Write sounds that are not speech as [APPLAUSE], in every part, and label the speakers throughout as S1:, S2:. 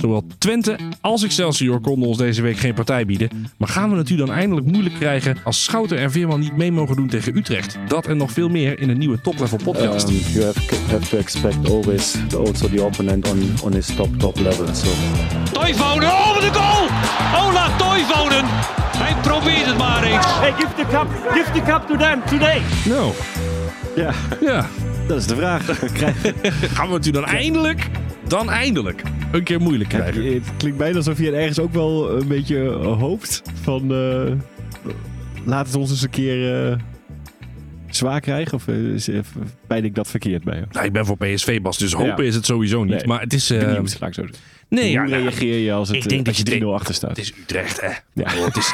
S1: Zowel Twente als Excelsior konden ons deze week geen partij bieden. Maar gaan we het u dan eindelijk moeilijk krijgen als Schouten en Veerman niet mee mogen doen tegen Utrecht? Dat en nog veel meer in een nieuwe toplevel podcast.
S2: Um, you have, have to expect always also the opponent on, on his top, top level. So.
S3: Toivonen, oh wat een goal! Ola Toivonen! Hij probeert het maar eens.
S4: Hey, give the cup, give the cup to them today.
S5: Ehm,
S1: Nou,
S2: Ja,
S1: ja.
S2: dat is de vraag. Krijg-
S1: Gaan we het u dan eindelijk, dan eindelijk, een keer moeilijk krijgen?
S5: Het klinkt bijna alsof je ergens ook wel een beetje hoopt van... eh, laat het ons eens een keer eh, zwaar krijgen. Of eh, is- eh, pijn ik dat verkeerd bij jou?
S1: Nou, ik ben voor PSV, Bas, dus hopen
S5: Ja.
S1: is het sowieso niet.
S5: Nee.
S1: Maar het is... eh,
S5: Benieuwd, laat ik zo zeggen.
S1: nee, ja,
S5: Hoe
S1: nou,
S5: reageer je als, het,
S1: ik
S5: eh,
S1: denk dat
S5: als
S1: je
S5: je 2-0
S1: drie-
S5: achter staat?
S1: het is Utrecht, hè.
S5: [LAUGHS] Ja.
S1: Oh, het is,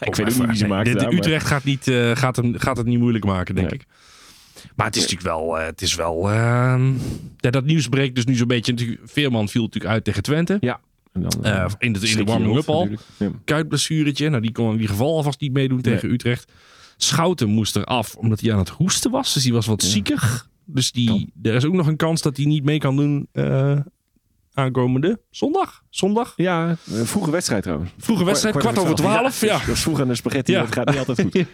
S5: ik weet ook niet wie ze
S1: Nee,
S5: maakt
S1: de- de
S5: daar, maar-
S1: Utrecht gaat, niet, eh, gaat, hem, gaat het niet moeilijk maken, denk
S5: Nee.
S1: ik. Maar het is natuurlijk wel... eh, het is wel ehm, ja, dat nieuws breekt dus nu zo'n beetje... natuurlijk- Veerman viel natuurlijk uit tegen Twente.
S5: Ja. En dan, eh,
S1: Eh, in de, in
S5: schrik
S1: de
S5: je
S1: warming-up
S5: erop
S1: al.
S5: natuurlijk. Ja.
S1: Kuitblessuretje. Nou, die kon in ieder geval alvast niet meedoen tegen Utrecht. Schouten moest eraf, omdat hij aan het hoesten was. Dus die was wat ziekig. Dus die, er is ook nog een kans dat hij niet mee kan doen eh, aankomende zondag. Zondag?
S5: Ja, eh, vroege wedstrijd trouwens.
S1: Vroege wedstrijd, kwart, over twaalf. Ja.
S5: Dat is vroeg aan de
S1: [LAUGHS]
S5: spaghetti,
S1: Ja.
S5: dat gaat niet altijd goed.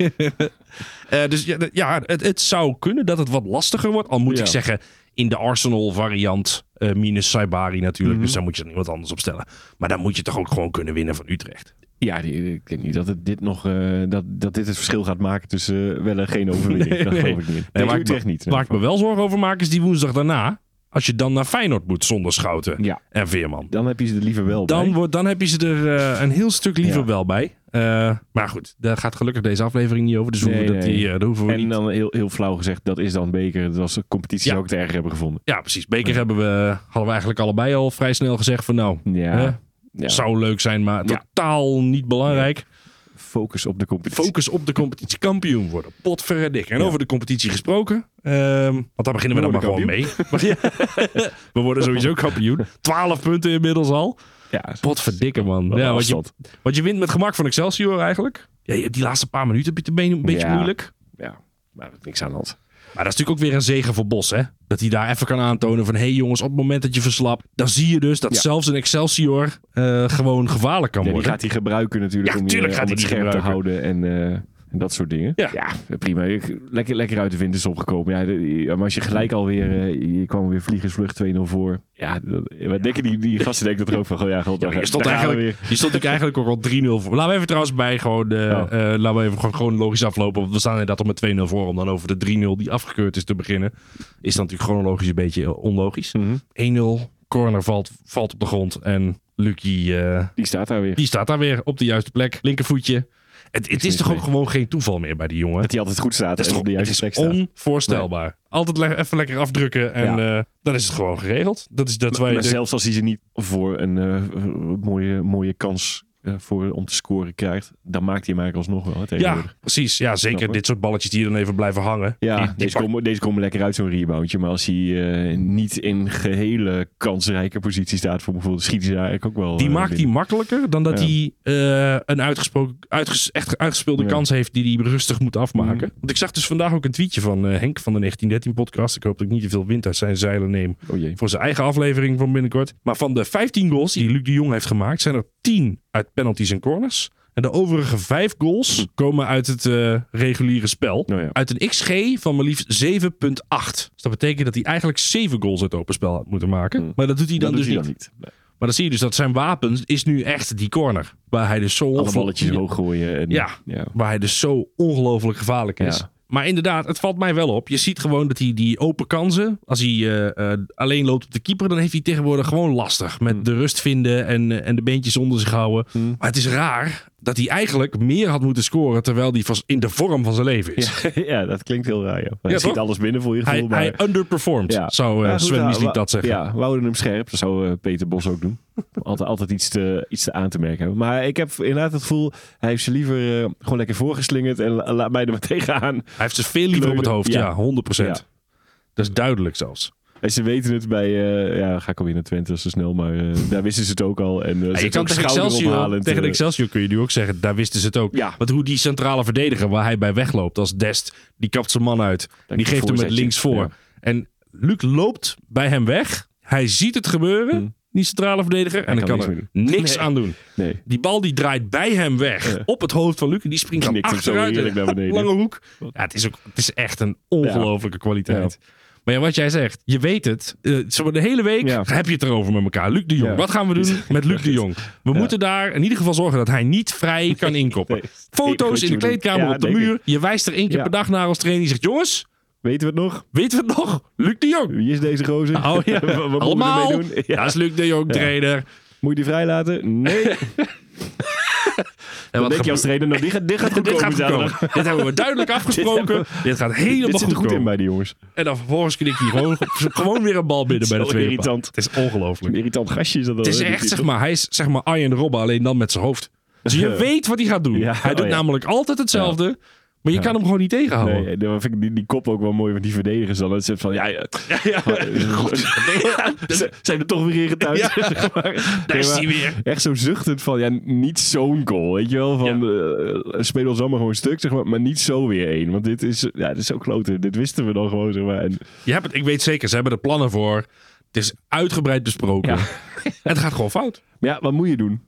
S1: [LAUGHS] Eh, dus ja, d- ja het, het zou kunnen dat het wat lastiger wordt. Al moet
S5: Ja.
S1: ik zeggen, in de Arsenal variant eh, minus Saibari natuurlijk.
S5: Mhm.
S1: Dus daar moet je dan iemand anders op stellen. Maar dan moet je toch ook gewoon kunnen winnen van Utrecht.
S5: Ja, die, ik denk niet dat het dit nog eh, dat, dat dit het verschil gaat maken tussen eh, wel en geen overwinning. dat
S1: nee.
S5: geloof ik niet.
S1: Nee,
S5: Nee,
S1: waar ik
S5: Utrecht niet.
S1: Waar ik me wel zorgen over maak is die woensdag daarna. Als je dan naar Feyenoord moet zonder Schouten
S5: Ja,
S1: en Veerman.
S5: dan heb je ze er liever wel
S1: Dan,
S5: bij.
S1: wordt, dan heb je ze er eh, een heel stuk liever
S5: Ja.
S1: wel bij. Eh, maar goed, daar gaat gelukkig deze aflevering niet over. Dus we
S5: Nee,
S1: hoeven, dat
S5: nee.
S1: die, eh, daar hoeven we
S5: En
S1: niet...
S5: dan heel, heel flauw gezegd, dat is dan beker. Dat was de competitie
S1: Ja.
S5: ook te erg hebben gevonden.
S1: Ja, precies. Beker hebben we, hadden we eigenlijk allebei al vrij snel gezegd van nou,
S5: Ja.
S1: hè,
S5: ja.
S1: zou leuk zijn, maar
S5: Ja.
S1: totaal niet belangrijk.
S5: Focus op de competitie.
S1: Focus op de competitie. Kampioen worden. Potverdik. En
S5: Ja.
S1: over de competitie gesproken. ehm, want daar beginnen we,
S5: We
S1: dan maar
S5: worden
S1: gewoon mee. Maar [LAUGHS] ja, we worden sowieso kampioen. 12 punten inmiddels al.
S5: Ja,
S1: Potverdikke man.
S5: ja,
S1: Ja, want, je,
S5: afstand.
S1: want je wint met gemak van Excelsior eigenlijk. Ja, je hebt die laatste paar minuten heb je het een be- een beetje
S5: Ja.
S1: moeilijk.
S5: Ja, maar er is niks aan de hand.
S1: Maar dat is natuurlijk ook weer een zegen voor Bos, hè? Dat hij daar even kan aantonen van... hé hey jongens, op het moment dat je verslapt... dan zie je dus dat
S5: Ja.
S1: zelfs een Excelsior eh, gewoon gevaarlijk kan
S5: Ja, die
S1: worden.
S5: gaat hij gebruiken natuurlijk
S1: Ja,
S5: om, je,
S1: tuurlijk
S5: om
S1: gaat hij
S5: het
S1: die
S5: scherp te houden en, eh, en dat soort dingen.
S1: Ja.
S5: prima. Ik- Lekker, lekker uit de wind is opgekomen. Ja, de- maar als je gelijk alweer, eh, je kwam weer vliegersvlucht 2-0 voor. Ja, dat, wat denken die, die gasten denken dat er ook van, goh, ja, god, daar-
S1: Je stond,
S5: daar gaan we
S1: eigenlijk, je stond natuurlijk eigenlijk ook al 3-0 voor. Laten we even trouwens bij gewoon, eh,
S5: Oh.
S1: eh, laten we even gewoon, gewoon logisch aflopen. Want we staan inderdaad al met 2-0 voor. Om dan over de 3-0 die afgekeurd is te beginnen. Is dan natuurlijk chronologisch een beetje eh, onlogisch.
S5: weer. Mhm.
S1: 1-0, corner valt, valt op de grond. En Lucky, eh,
S5: Die staat daar weer.
S1: die staat daar weer op de juiste plek. Linkervoetje. Het, het is
S5: mis
S1: toch ook
S5: mee.
S1: gewoon geen toeval meer bij die jongen.
S5: Dat hij altijd goed staat
S1: Het is,
S5: en
S1: toch,
S5: op de
S1: het
S5: juiste
S1: is
S5: plek staat.
S1: onvoorstelbaar. Altijd le- even lekker afdrukken en eh, dan is het gewoon geregeld. Dat is dat wij
S5: Maar
S1: de-
S5: zelfs als hij ze niet voor een eh, eh, mooie, mooie kans eh, voor, om te scoren krijgt, dan maakt hij hem eigenlijk alsnog wel.
S1: Ja,
S5: hè, tegenwoordig.
S1: precies. Ja,
S5: Snap
S1: zeker
S5: ik.
S1: dit soort balletjes die hier dan even blijven hangen. Die-
S5: Ja,
S1: die
S5: deze
S1: pak-
S5: komen, deze komen lekker uit zo'n reboundje. Maar als hij eh, niet in gehele kansrijke positie staat voor bijvoorbeeld, schiet hij daar eigenlijk ook wel.
S1: die
S5: eh,
S1: maakt die
S5: binnen.
S1: makkelijk dan dat
S5: Ja.
S1: hij eh, een uitgesproken, uitges- echt uitgespeelde
S5: Ja.
S1: kans heeft die hij rustig moet afmaken.
S5: Mhm.
S1: Want ik zag dus vandaag ook een tweetje van eh, Henk van de 1913 podcast. Ik hoop dat ik niet te veel wind uit zijn zeilen neem
S5: Oh jee.
S1: voor zijn eigen aflevering van binnenkort. Maar van de 15 goals die Luc de Jong heeft gemaakt, zijn er 10 uit penalties en corners. En de overige 5 goals komen uit het eh, reguliere spel.
S5: Nou Hm. ja.
S1: Uit een XG van maar liefst 7,8. Dus dat betekent dat hij eigenlijk 7 goals uit open spel had moeten maken.
S5: Hm.
S1: Maar dat doet hij dan
S5: Dat
S1: dus
S5: doet hij
S1: niet.
S5: dan niet. Nee.
S1: Maar dan zie je dus dat zijn wapen is nu echt die corner. Waar hij dus zo
S5: Alle
S1: ongelooflijk-
S5: balletjes hoog gooien. En,
S1: Ja.
S5: ja. [LAUGHS]
S1: Waar hij dus zo ongelooflijk gevaarlijk is.
S5: Ja.
S1: Maar inderdaad, het valt mij wel op. Je ziet gewoon dat hij die open kansen, als hij eh, eh, alleen loopt op de keeper, dan heeft hij tegenwoordig gewoon lastig. Met
S5: Hmm.
S1: de rust vinden en, eh, en de beentjes onder zich houden.
S5: Hm.
S1: Maar het is raar dat hij eigenlijk meer had moeten scoren terwijl hij vast in de vorm van zijn leven is.
S5: Ja, dat klinkt heel raar. Joh. Hij
S1: Ja,
S5: schiet
S1: toch?
S5: alles binnen voor je gevoel.
S1: Hij,
S5: maar...
S1: hij underperformed,
S5: Ja.
S1: zou eh,
S5: Ja, goed,
S1: Sven
S5: ja,
S1: Misliep
S5: wa-
S1: dat zeggen.
S5: Ja, we houden hem scherp. Dat zou eh, Peter Bos ook
S1: [LAUGHS]
S5: doen. Altijd, altijd iets, te, iets te aan te merken hebben. Maar ik heb inderdaad het gevoel, hij heeft ze liever eh, gewoon lekker voorgeslingerd en la- laat mij er maar [LAUGHS] tegenaan.
S1: Hij heeft ze veel liever op het hoofd, ja,
S5: Ja.
S1: 100%. Dat is duidelijk zelfs.
S5: En ze weten het bij, eh, ja, dan ga ik alweer naar Twente, dat is te snel, maar eh,
S1: [LAUGHS]
S5: daar wisten ze het ook al. En eh, ze
S1: Ja, je
S5: zijn
S1: kan
S5: ook
S1: tegen Excelsior,
S5: schouderophalend,
S1: tegen de
S5: eh,
S1: Excelsior kun je nu ook zeggen, daar wisten ze het ook.
S5: Ja.
S1: Want hoe die centrale verdediger waar hij bij wegloopt als Dest, die kapt zijn man uit. die
S5: een
S1: geeft hem met
S5: voorzetje.
S1: links voor.
S5: Ja.
S1: En Luc loopt bij hem weg. Hij ziet het gebeuren. die centrale verdediger. En
S5: Hij
S1: dan
S5: kan
S1: Mm. kan
S5: niks
S1: er niks aan doen.
S5: Nee.
S1: Die bal die draait bij hem weg
S5: Ja.
S1: op het hoofd van Luc. En die springt dan
S5: Knikt hem zo
S1: achteruit.
S5: heerlijk naar beneden.
S1: Lange hoek. Ja, het, is ook, het is echt een ongelofelijke kwaliteit. Maar ja, wat jij zegt, je weet het. Eh, zeg maar de hele week
S5: Ja.
S1: heb je het erover met elkaar. Luc de Jong.
S5: Ja.
S1: Wat gaan we doen met Luc de Jong? We moeten daar in ieder geval zorgen dat hij niet vrij kan inkoppen.
S5: Nee.
S1: Foto's
S5: Goed,
S1: in de
S5: Jeroen.
S1: kleedkamer
S5: Ja,
S1: op de
S5: denk
S1: muur. Je wijst er één keer
S5: Ja.
S1: per dag naar als trainer. Je zegt, jongens,
S5: Weten we het nog?
S1: weten we het nog? Luc de
S5: [LAUGHS]
S1: Jong.
S5: Wie is deze gozer?
S1: Oh [LAUGHS] ja,
S5: [LAUGHS] Wat moeten we
S1: allemaal.
S5: ermee doen? [LAUGHS] Ja.
S1: Dat is Luc de Jong, trainer.
S5: Moet je die vrijlaten?
S1: [LAUGHS]
S5: Nee. Dan
S1: En wat
S5: denk je
S1: gebeurt-
S5: als trainer, nou, die gaat, dit gaat
S1: [LAUGHS]
S5: goed
S1: Dit gaat
S5: komen
S1: goed
S5: zaterdag.
S1: komen. Dit hebben we
S5: [LAUGHS]
S1: duidelijk afgesproken. dit, gaat helemaal
S5: Dit zit
S1: goed,
S5: er goed in
S1: komen.
S5: bij die jongens.
S1: En dan vervolgens knikt hij gewoon, gewoon weer een bal binnen bij de
S5: wel
S1: tweede paal.
S5: irritant.
S1: Het is ongelooflijk.
S5: Een irritant gastje is dat
S1: Het is echt, zeg maar, hij is zeg maar Arjen Robben, alleen dan met zijn hoofd. Dus je
S5: [LAUGHS] Ja.
S1: weet wat hij gaat doen.
S5: Ja,
S1: Hij doet
S5: oh ja.
S1: namelijk altijd hetzelfde, maar je kan hem gewoon niet tegenhouden.
S5: Nee, dan vind ik die, die kop ook wel mooi van die verdedigers dan. Dat ze van, ja, ja.
S1: [LAUGHS]
S5: [LAUGHS] Ze- zijn er toch weer in getuigd. [LAUGHS] zeg maar.
S1: Daar
S5: Nee,
S1: is
S5: maar
S1: hij weer.
S5: Echt zo zuchtend van, ja, niet zo'n goal, weet je wel. Van, eh, speel ons allemaal gewoon stuk, zeg maar, maar niet zo weer één. Want dit is, ja, dit is zo kloten. Dit wisten we dan gewoon, zeg maar. En,
S1: Je hebt het, ik weet zeker, ze hebben er plannen voor. Het is uitgebreid besproken.
S5: Ja.
S1: En [LAUGHS] het gaat gewoon fout.
S5: maar ja, wat moet je doen?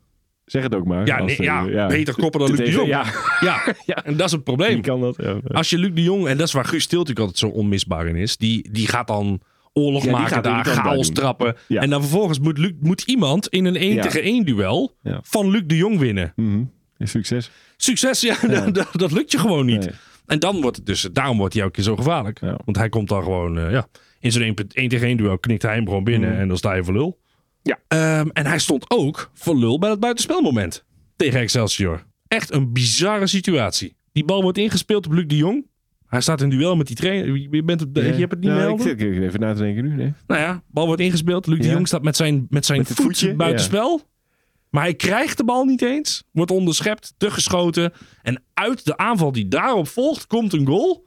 S5: Zeg het ook maar.
S1: Ja,
S5: Als,
S1: nee,
S5: eh,
S1: ja, beter koppen dan Luc de
S5: Tegen-
S1: Jong.
S5: Ja, [LAUGHS]
S1: Ja,
S5: Ja.
S1: en dat is het probleem.
S5: die kan dat. Ja, ja.
S1: Als je Luc de Jong, en dat is waar Guus Stil natuurlijk altijd zo onmisbaar in is, die, die gaat dan oorlog
S5: Ja, die
S1: maken
S5: gaat
S1: daar,
S5: irritant
S1: chaos
S5: doen.
S1: trappen.
S5: Ja.
S1: En dan vervolgens moet, Luc, moet iemand in een 1
S5: Ja.
S1: tegen 1 duel
S5: Ja.
S1: van Luc de Jong winnen.
S5: Mhm. Succes.
S1: Succes, ja, [LAUGHS] Dat, dat- dat lukt je gewoon niet.
S5: Nee.
S1: En dan wordt het dus, daarom wordt hij elke keer zo gevaarlijk.
S5: Ja.
S1: Want hij komt dan gewoon, eh, ja, in zo'n 1 pe- 1 tegen 1 duel knikt hij hem gewoon binnen en dan sta je voor lul.
S5: Mm. Ja.
S1: Ehm, en hij stond ook voor lul bij dat buitenspelmoment tegen Excelsior. Echt een bizarre situatie. Die bal wordt ingespeeld op Luc de Jong. Hij staat in duel met die trainer. Je, bent het, je hebt het niet
S5: Ja,
S1: meer
S5: Nou, ik
S1: helder.
S5: zit ik zit even na te denken nu, nee.
S1: Nou ja, bal wordt ingespeeld. Luc de
S5: Ja.
S1: Jong staat met zijn, met zijn
S5: Met het
S1: voet
S5: voetje,
S1: buitenspel. Maar hij krijgt de bal niet eens. Wordt onderschept, teruggeschoten. En uit de aanval die daarop volgt, komt een goal.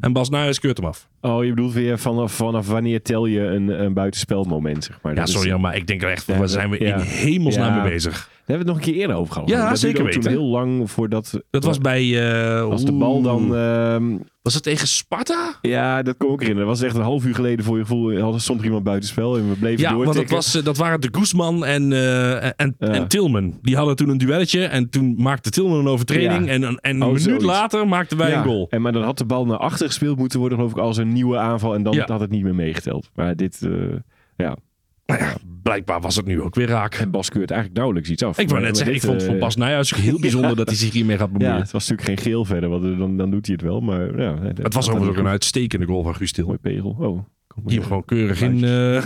S1: En Bas Nijhuis keurt hem af.
S5: Oh, je bedoelt weer vanaf, vanaf wanneer tel je een, een buitenspelmoment, zeg maar.
S1: Ja,
S5: Dat is-
S1: sorry, maar ik denk er echt,
S5: Ja,
S1: waar
S5: dat-
S1: zijn we
S5: ja.
S1: in hemelsnaam
S5: Ja.
S1: mee bezig?
S5: Daar hebben we het nog een keer eerder over gehad.
S1: Ja,
S5: Dat duurde
S1: zeker
S5: ook toen
S1: weten.
S5: heel lang voordat...
S1: Dat was bij... eh,
S5: Als de bal dan... ehm,
S1: Was dat tegen Sparta?
S5: ja, dat kon ik herinneren. Dat was echt een half uur geleden voor je gevoel. Hadden soms iemand buitenspel en we bleven
S1: Ja, want dat,
S5: doortikken.
S1: was, eh, dat waren de Guzman en, eh, en,
S5: Ja.
S1: en Tilman. Die hadden toen een duelletje. En toen maakte Tilman een overtreding.
S5: Ja.
S1: En, en een
S5: Oh,
S1: minuut
S5: zoiets.
S1: later maakten wij
S5: Ja,
S1: een goal.
S5: En, maar dan had de bal naar achter gespeeld moeten worden, geloof ik, als een nieuwe aanval. En dan
S1: Ja.
S5: had het niet meer meegeteld. Maar dit... eh ja,
S1: Nou ja, blijkbaar was het nu ook weer raak.
S5: en Bas keurt eigenlijk nauwelijks iets af.
S1: Ik wou
S5: Maar-
S1: net
S5: maar
S1: zeggen, ik
S5: dit,
S1: vond nou het
S5: eh,
S1: voor Bas Nijhuis
S5: [LAUGHS]
S1: ook heel bijzonder dat hij zich hiermee gaat bemoeien.
S5: Ja, het was natuurlijk geen geel verder, want eh, dan, dan doet hij het wel. Maar ja, nee, dat-
S1: het was
S5: dat-
S1: overigens ook een uitstekende goal van Guus Til.
S5: Mooi pegel. Oh. kom maar.
S1: Die hem gewoon keurig in... [LAUGHS] eh
S5: Je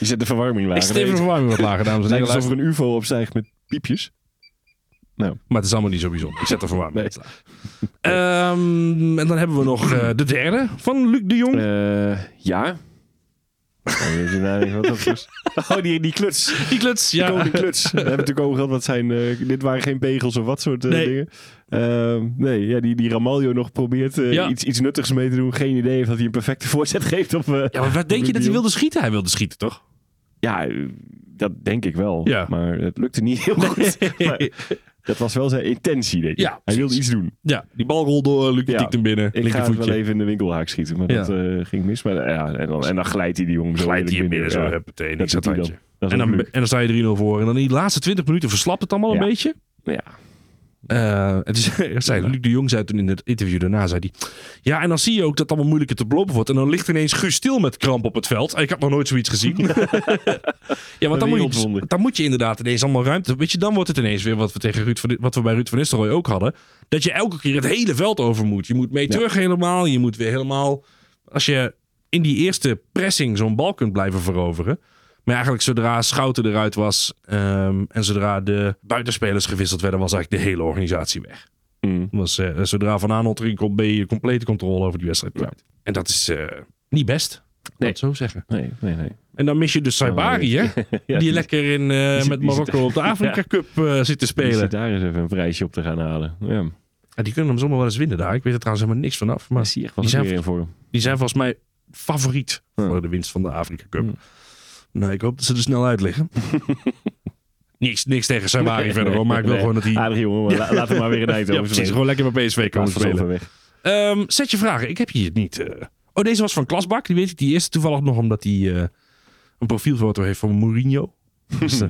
S5: zet de verwarming laag.
S1: ik zet even de verwarming wat lager, dames en
S5: Het
S1: heren.
S5: lijkt alsof
S1: Luister.
S5: er een ufo opstijgt met piepjes.
S1: Maar het is allemaal niet zo bijzonder. Ik zet de verwarming
S5: Nee.
S1: wat lager. [LAUGHS] Ehm, en dan hebben we nog eh, de derde van Luc de Jong. Eh,
S5: ja. wat dat was. [LAUGHS] Oh, die, die kluts.
S1: Die kluts.
S5: Die
S1: Ja.
S5: koning kluts.
S1: [LAUGHS]
S5: We hebben natuurlijk over gehad, wat zijn, eh, dit waren geen pegels of wat soort eh,
S1: Nee.
S5: dingen. Ehm, nee, ja, die, die Ramaljo nog probeert eh,
S1: Ja.
S5: iets, iets nuttigs mee te doen. Geen idee of dat hij een perfecte [LAUGHS] voorzet geeft. Of, eh,
S1: ja, maar wat denk je dat hij
S5: Jong.
S1: wilde schieten? Hij wilde schieten, toch?
S5: ja, eh, dat denk ik wel.
S1: Ja.
S5: Maar het lukte niet
S1: [LAUGHS]
S5: heel goed. Maar dat was wel zijn intentie, denk ik.
S1: Ja,
S5: hij wilde
S1: precies.
S5: iets doen.
S1: Ja, die bal rolt door. eh, Luc
S5: Ja.
S1: tikt hem binnen.
S5: Ik ga het wel
S1: Linkervoetje.
S5: even in de winkelhaak schieten, maar
S1: Ja.
S5: dat eh, ging mis. Maar, eh, ja, en, dan, en dan glijdt hij die jongen zo
S1: Glijdt
S5: heerlijk
S1: hij hem binnen zo. Huppatee, niks aan het
S5: doet hij
S1: handje.
S5: Dat
S1: En
S5: is
S1: dan,
S5: ook
S1: en
S5: leuk.
S1: dan sta je 3-0 voor. En dan in die laatste 20 minuten verslapt het allemaal een
S5: Ja.
S1: beetje.
S5: Ja.
S1: Eh, het is, [LAUGHS] er zei, Luc de Jong zei toen in het interview daarna, zei hij... Ja, en dan zie je ook dat het allemaal moeilijker te belopen wordt. En dan ligt ineens Guus stil met kramp op het veld. Ik had nog nooit zoiets gezien. ja, want dan moet, je,
S5: wereldwonder.
S1: dan moet je inderdaad ineens allemaal ruimte... Weet je, dan wordt het ineens weer wat we, tegen Ruud van, wat we bij Ruud van Nistelrooy ook hadden. Dat je elke keer het hele veld over moet. Je moet mee terug helemaal. Je moet weer helemaal... Als je in die eerste pressing zo'n bal kunt blijven veroveren... Maar eigenlijk zodra Schouten eruit was ehm, en zodra de buitenspelers gewisseld werden, was eigenlijk de hele organisatie weg.
S5: Mm.
S1: Was, eh, zodra Van Aanholt erin komt, ben je complete controle over die wedstrijd kwijt. En dat is eh, niet best, laat
S5: Nee.
S1: het zo zeggen.
S5: Nee, nee, nee.
S1: En dan mis je dus Saibari, hè?
S5: [LAUGHS] Ja,
S1: die lekker in, eh,
S5: zit-
S1: met
S5: die zit-
S1: Marokko op
S5: [LAUGHS]
S1: de Afrika Cup eh, zit te
S5: die
S1: spelen.
S5: zit daar eens even een prijsje op te gaan halen. Ja,
S1: En die kunnen hem zomaar wel eens winnen daar. Ik weet er trouwens helemaal niks vanaf.
S5: daar
S1: Maar
S5: zie je echt
S1: die
S5: wel
S1: zijn
S5: weer in voor hem.
S1: die zijn volgens mij favoriet
S5: Ja.
S1: voor de winst van de Afrika Cup.
S5: Ja.
S1: Nou, ik hoop dat ze er snel uit
S5: [LAUGHS]
S1: liggen. niks, niks tegen Saibari verder hoor, maar ik wil
S5: Nee.
S1: gewoon dat hij...
S5: Aardig jongen, maar la- laat hem maar weer een eind
S1: [LAUGHS] Ja,
S5: over
S1: precies. Gewoon lekker bij PSV komen spelen.
S5: weg.
S1: Ehm, zet je vragen. Ik heb hier niet. eh. Oh, deze was van Klasbak. Die weet ik die eerste toevallig nog omdat die eh, een profielfoto heeft van
S5: [LAUGHS]
S1: Mourinho. Dus, eh,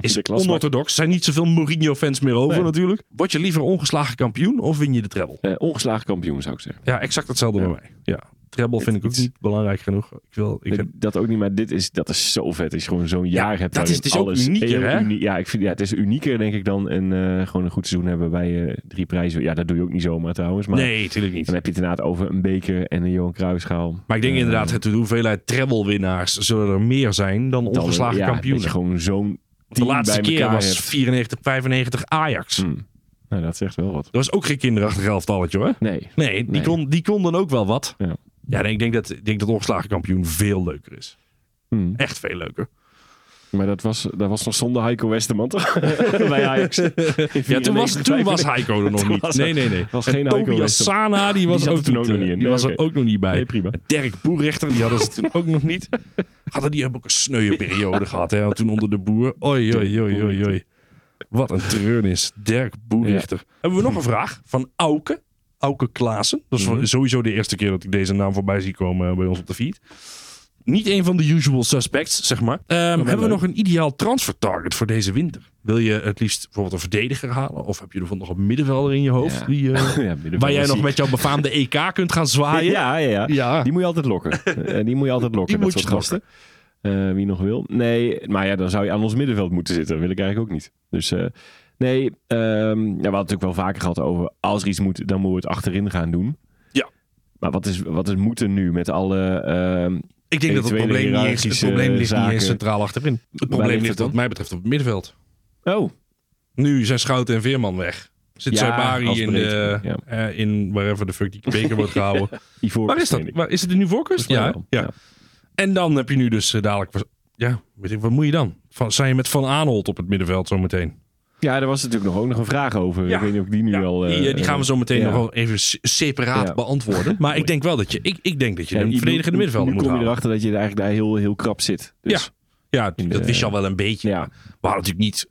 S1: is
S5: De klasmaat.
S1: onorthodox. Er zijn niet zoveel Mourinho-fans meer over
S5: Nee.
S1: natuurlijk. Word je liever ongeslagen kampioen of win je de treble?
S5: Eh, ongeslagen kampioen, zou ik zeggen.
S1: Ja, exact hetzelfde bij mij. Ja, treble vind ik ook
S5: het-
S1: niet belangrijk genoeg. Ik wil, ik
S5: Ik
S1: heb,
S5: dat ook niet, maar dit is, dat is zo vet. Als je gewoon zo'n jaar hebt.
S1: dat is- het
S5: dus
S1: is ook unieker, hè?
S5: ja, ik vind, ja, het is unieker, denk ik, dan een, eh, gewoon een goed seizoen hebben bij eh, drie prijzen. Ja, dat doe je ook niet zomaar trouwens. Maar
S1: nee, natuurlijk niet.
S5: dan heb je het inderdaad over een beker en een Johan Cruijffschaal.
S1: Maar ik denk
S5: Eh,
S1: inderdaad, het, de hoeveelheid treble-winnaars zullen er meer zijn dan
S5: dan-
S1: ongeslagen
S5: ja,
S1: kampioenen.
S5: Dat je gewoon zo'n
S1: de
S5: team
S1: laatste
S5: bij
S1: keer
S5: elkaar
S1: was
S5: hebt.
S1: 94, 95 Ajax.
S5: Hm. Nou, dat zegt wel wat.
S1: Dat was ook geen kinderachtig elftalletje hoor.
S5: Nee.
S1: Nee, die,
S5: Nee.
S1: Kon, die kon dan ook wel wat.
S5: Ja.
S1: Ja, nee, ik denk dat, ik denk dat ongeslagen kampioen veel leuker is.
S5: Hm.
S1: Echt veel leuker.
S5: Maar dat was, dat was nog zonder Heiko Westerman toch?
S1: [LAUGHS]
S5: bij Ajax.
S1: Ja, toen was, toen
S5: [LAUGHS]
S1: was Heiko er nog
S5: Toen
S1: niet.
S5: was
S1: Nee,
S5: er-
S1: nee, nee.
S5: was
S1: En
S5: geen Heiko
S1: Tobias
S5: Westerman.
S1: Sana, die was,
S5: zat
S1: ook,
S5: er toen
S1: niet,
S5: ook nog
S1: eh,
S5: niet in.
S1: Die
S5: Nee,
S1: was er
S5: oké.
S1: ook nog niet bij.
S5: Nee, prima.
S1: Dirk Boerichter, die hadden ze toen ook nog niet. Hadden die hebben ook een sneuwe periode gehad. Hè? Toen onder de boer. Oei, oei, oei, oei, oei. Wat een treurnis. Dirk Boerichter. Hebben we nog een vraag van Auke. Auke Klaassen. Dat is voor- sowieso de eerste keer dat ik deze naam voorbij zie komen eh, bij ons op de feed. Niet een van de usual suspects, zeg maar. Ehm, hebben we nog een ideaal transfer target voor deze winter? Wil je het liefst bijvoorbeeld een verdediger halen? Of heb je er nog een middenvelder in je hoofd?
S5: Ja.
S1: Die, eh,
S5: Ja,
S1: [LAUGHS]
S5: middenvelder
S1: waar jij
S5: zie
S1: nog
S5: ik.
S1: met jouw befaamde EK kunt gaan zwaaien?
S5: Ja, ja, ja.
S1: Ja.
S5: Die moet je altijd lokken. Eh, die moet je altijd lokken,
S1: Die
S5: dat
S1: moet je
S5: soort gasten. Eh, wie nog wil. Nee, maar ja, dan zou je aan ons middenveld moeten zitten. Dat wil ik eigenlijk ook niet. Dus eh, nee, ehm, ja, we hadden het natuurlijk wel vaker gehad over... als er iets moet, dan moeten we het achterin gaan doen.
S1: Ja.
S5: Maar wat is, wat is moeten nu met alle... ehm,
S1: Ik denk dat het
S5: Eventuele
S1: probleem niet eens het
S5: hiërarchische
S1: probleem ligt niet
S5: zaken.
S1: eens centraal achterin. Het
S5: ligt
S1: probleem
S5: het
S1: ligt
S5: dan?
S1: wat mij betreft op het middenveld.
S5: oh,
S1: Nu zijn Schouten en Veerman weg. Zit
S5: Ja,
S1: Zuibari
S5: als
S1: in,
S5: breed,
S1: de,
S5: ja.
S1: eh, in wherever de fuck die beker wordt
S5: [LAUGHS]
S1: gehouden.
S5: Ivoor.
S1: Waar is dat? Waar, is het in nu voorkust? Ja, hè? ja. En dan heb je nu dus eh, dadelijk... Ja, weet ik, wat moet je dan? Van, zijn je met Van Aanholt op het middenveld zometeen?
S5: Ja, daar was natuurlijk nog, ook nog een vraag over.
S1: Ja.
S5: Ik weet niet of ik die nu
S1: Ja,
S5: al... eh,
S1: die, eh, die gaan we zo meteen
S5: ja.
S1: nog wel even s- separaat
S5: Ja. [LAUGHS]
S1: beantwoorden. Maar ik denk wel dat je... Ik, ik denk dat je
S5: Ja,
S1: een
S5: die-
S1: verdedigende
S5: nu-
S1: middenvelder
S5: Nu
S1: moet
S5: kom je
S1: halen.
S5: erachter dat je er eigenlijk daar heel, heel krap zit. Dus,
S1: Ja. Ja,
S5: In
S1: dat
S5: de-
S1: wist je al wel een beetje.
S5: ja.
S1: We hadden natuurlijk niet.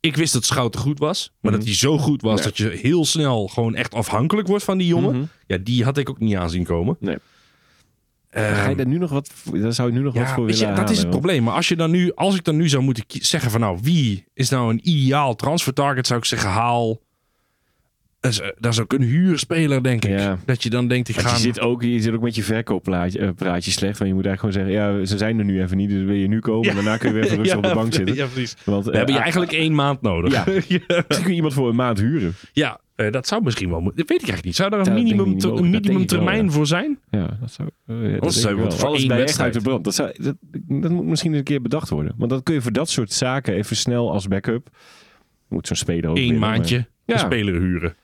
S1: Ik wist dat Schouten goed was. Maar
S5: Mhm.
S1: dat hij zo goed was dat je heel snel gewoon echt afhankelijk wordt van die jongen.
S5: Mhm.
S1: Ja, die had ik ook niet aanzien komen.
S5: Nee.
S1: Ehm,
S5: Ga je daar nu nog wat... voor- Daar zou je nu nog wat
S1: ja,
S5: voor
S1: weet
S5: willen
S1: je, dat
S5: halen,
S1: is het
S5: want-
S1: probleem. Maar als, je dan nu, als ik dan nu zou moeten kie- zeggen van nou, wie is nou een ideaal transfer target, zou ik zeggen haal. Dat is, eh, Dat is ook een huurspeler, denk ik.
S5: Ja.
S1: Dat je dan denkt, ik
S5: Want
S1: ga...
S5: je, zit ook, je zit ook met je verkooppraatje eh, praatje slecht. Want je moet eigenlijk gewoon zeggen, ja, ze zijn er nu even niet. Dus wil je nu komen, en daarna kun je weer even rustig op de bank zitten.
S1: [LAUGHS] Ja, precies.
S5: Want,
S1: We hebben je eigenlijk één maand nodig.
S5: Ja. Misschien [LAUGHS] kun je iemand voor een maand huren.
S1: [LAUGHS] Ja, eh, dat zou misschien wel moeten. Dat weet ik eigenlijk niet. Zou daar een
S5: Ja, dat denk ik
S1: minimum,
S5: niet
S1: te- een
S5: mogelijk. Dat
S1: minimum
S5: denk ik wel,
S1: termijn voor zijn?
S5: Ja, dat zou... eh, ja,
S1: Anders
S5: dat
S1: zou
S5: denk
S1: je wat
S5: ik wel.
S1: voor
S5: Alles
S1: één
S5: bij echt
S1: wedstrijd.
S5: uit de brand. Dat, zou, dat, dat moet misschien eens een keer bedacht worden. Want dat kun je voor dat soort zaken even snel als backup... Moet zo'n speler ook
S1: Eén
S5: winnen, maar-
S1: maandje
S5: Ja.
S1: een speler huren.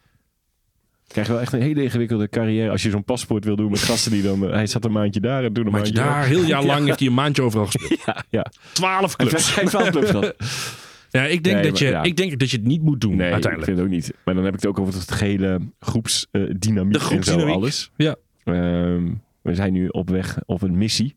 S5: krijg je wel echt een hele ingewikkelde carrière als je zo'n paspoort wil doen met gasten die dan... eh, Hij zat een maandje daar en toen een
S1: Maandje
S5: maandje,
S1: daar, heel jaar lang heeft hij een maandje overal gespeeld.
S5: [LAUGHS] Ja.
S1: Twaalf
S5: Hij
S1: clubs.
S5: heeft wel clubs gehad.
S1: [LAUGHS] Ja, ik, denk
S5: Nee,
S1: dat
S5: maar
S1: je,
S5: ja.
S1: ik denk dat je het niet moet doen
S5: Nee, ik
S1: uiteindelijk.
S5: vind het ook niet. Maar dan heb ik het ook over het gehele groepsdynamiek
S1: De
S5: en zo
S1: groepsdynamiek.
S5: alles.
S1: Ja.
S5: Ehm, we zijn nu op weg op een missie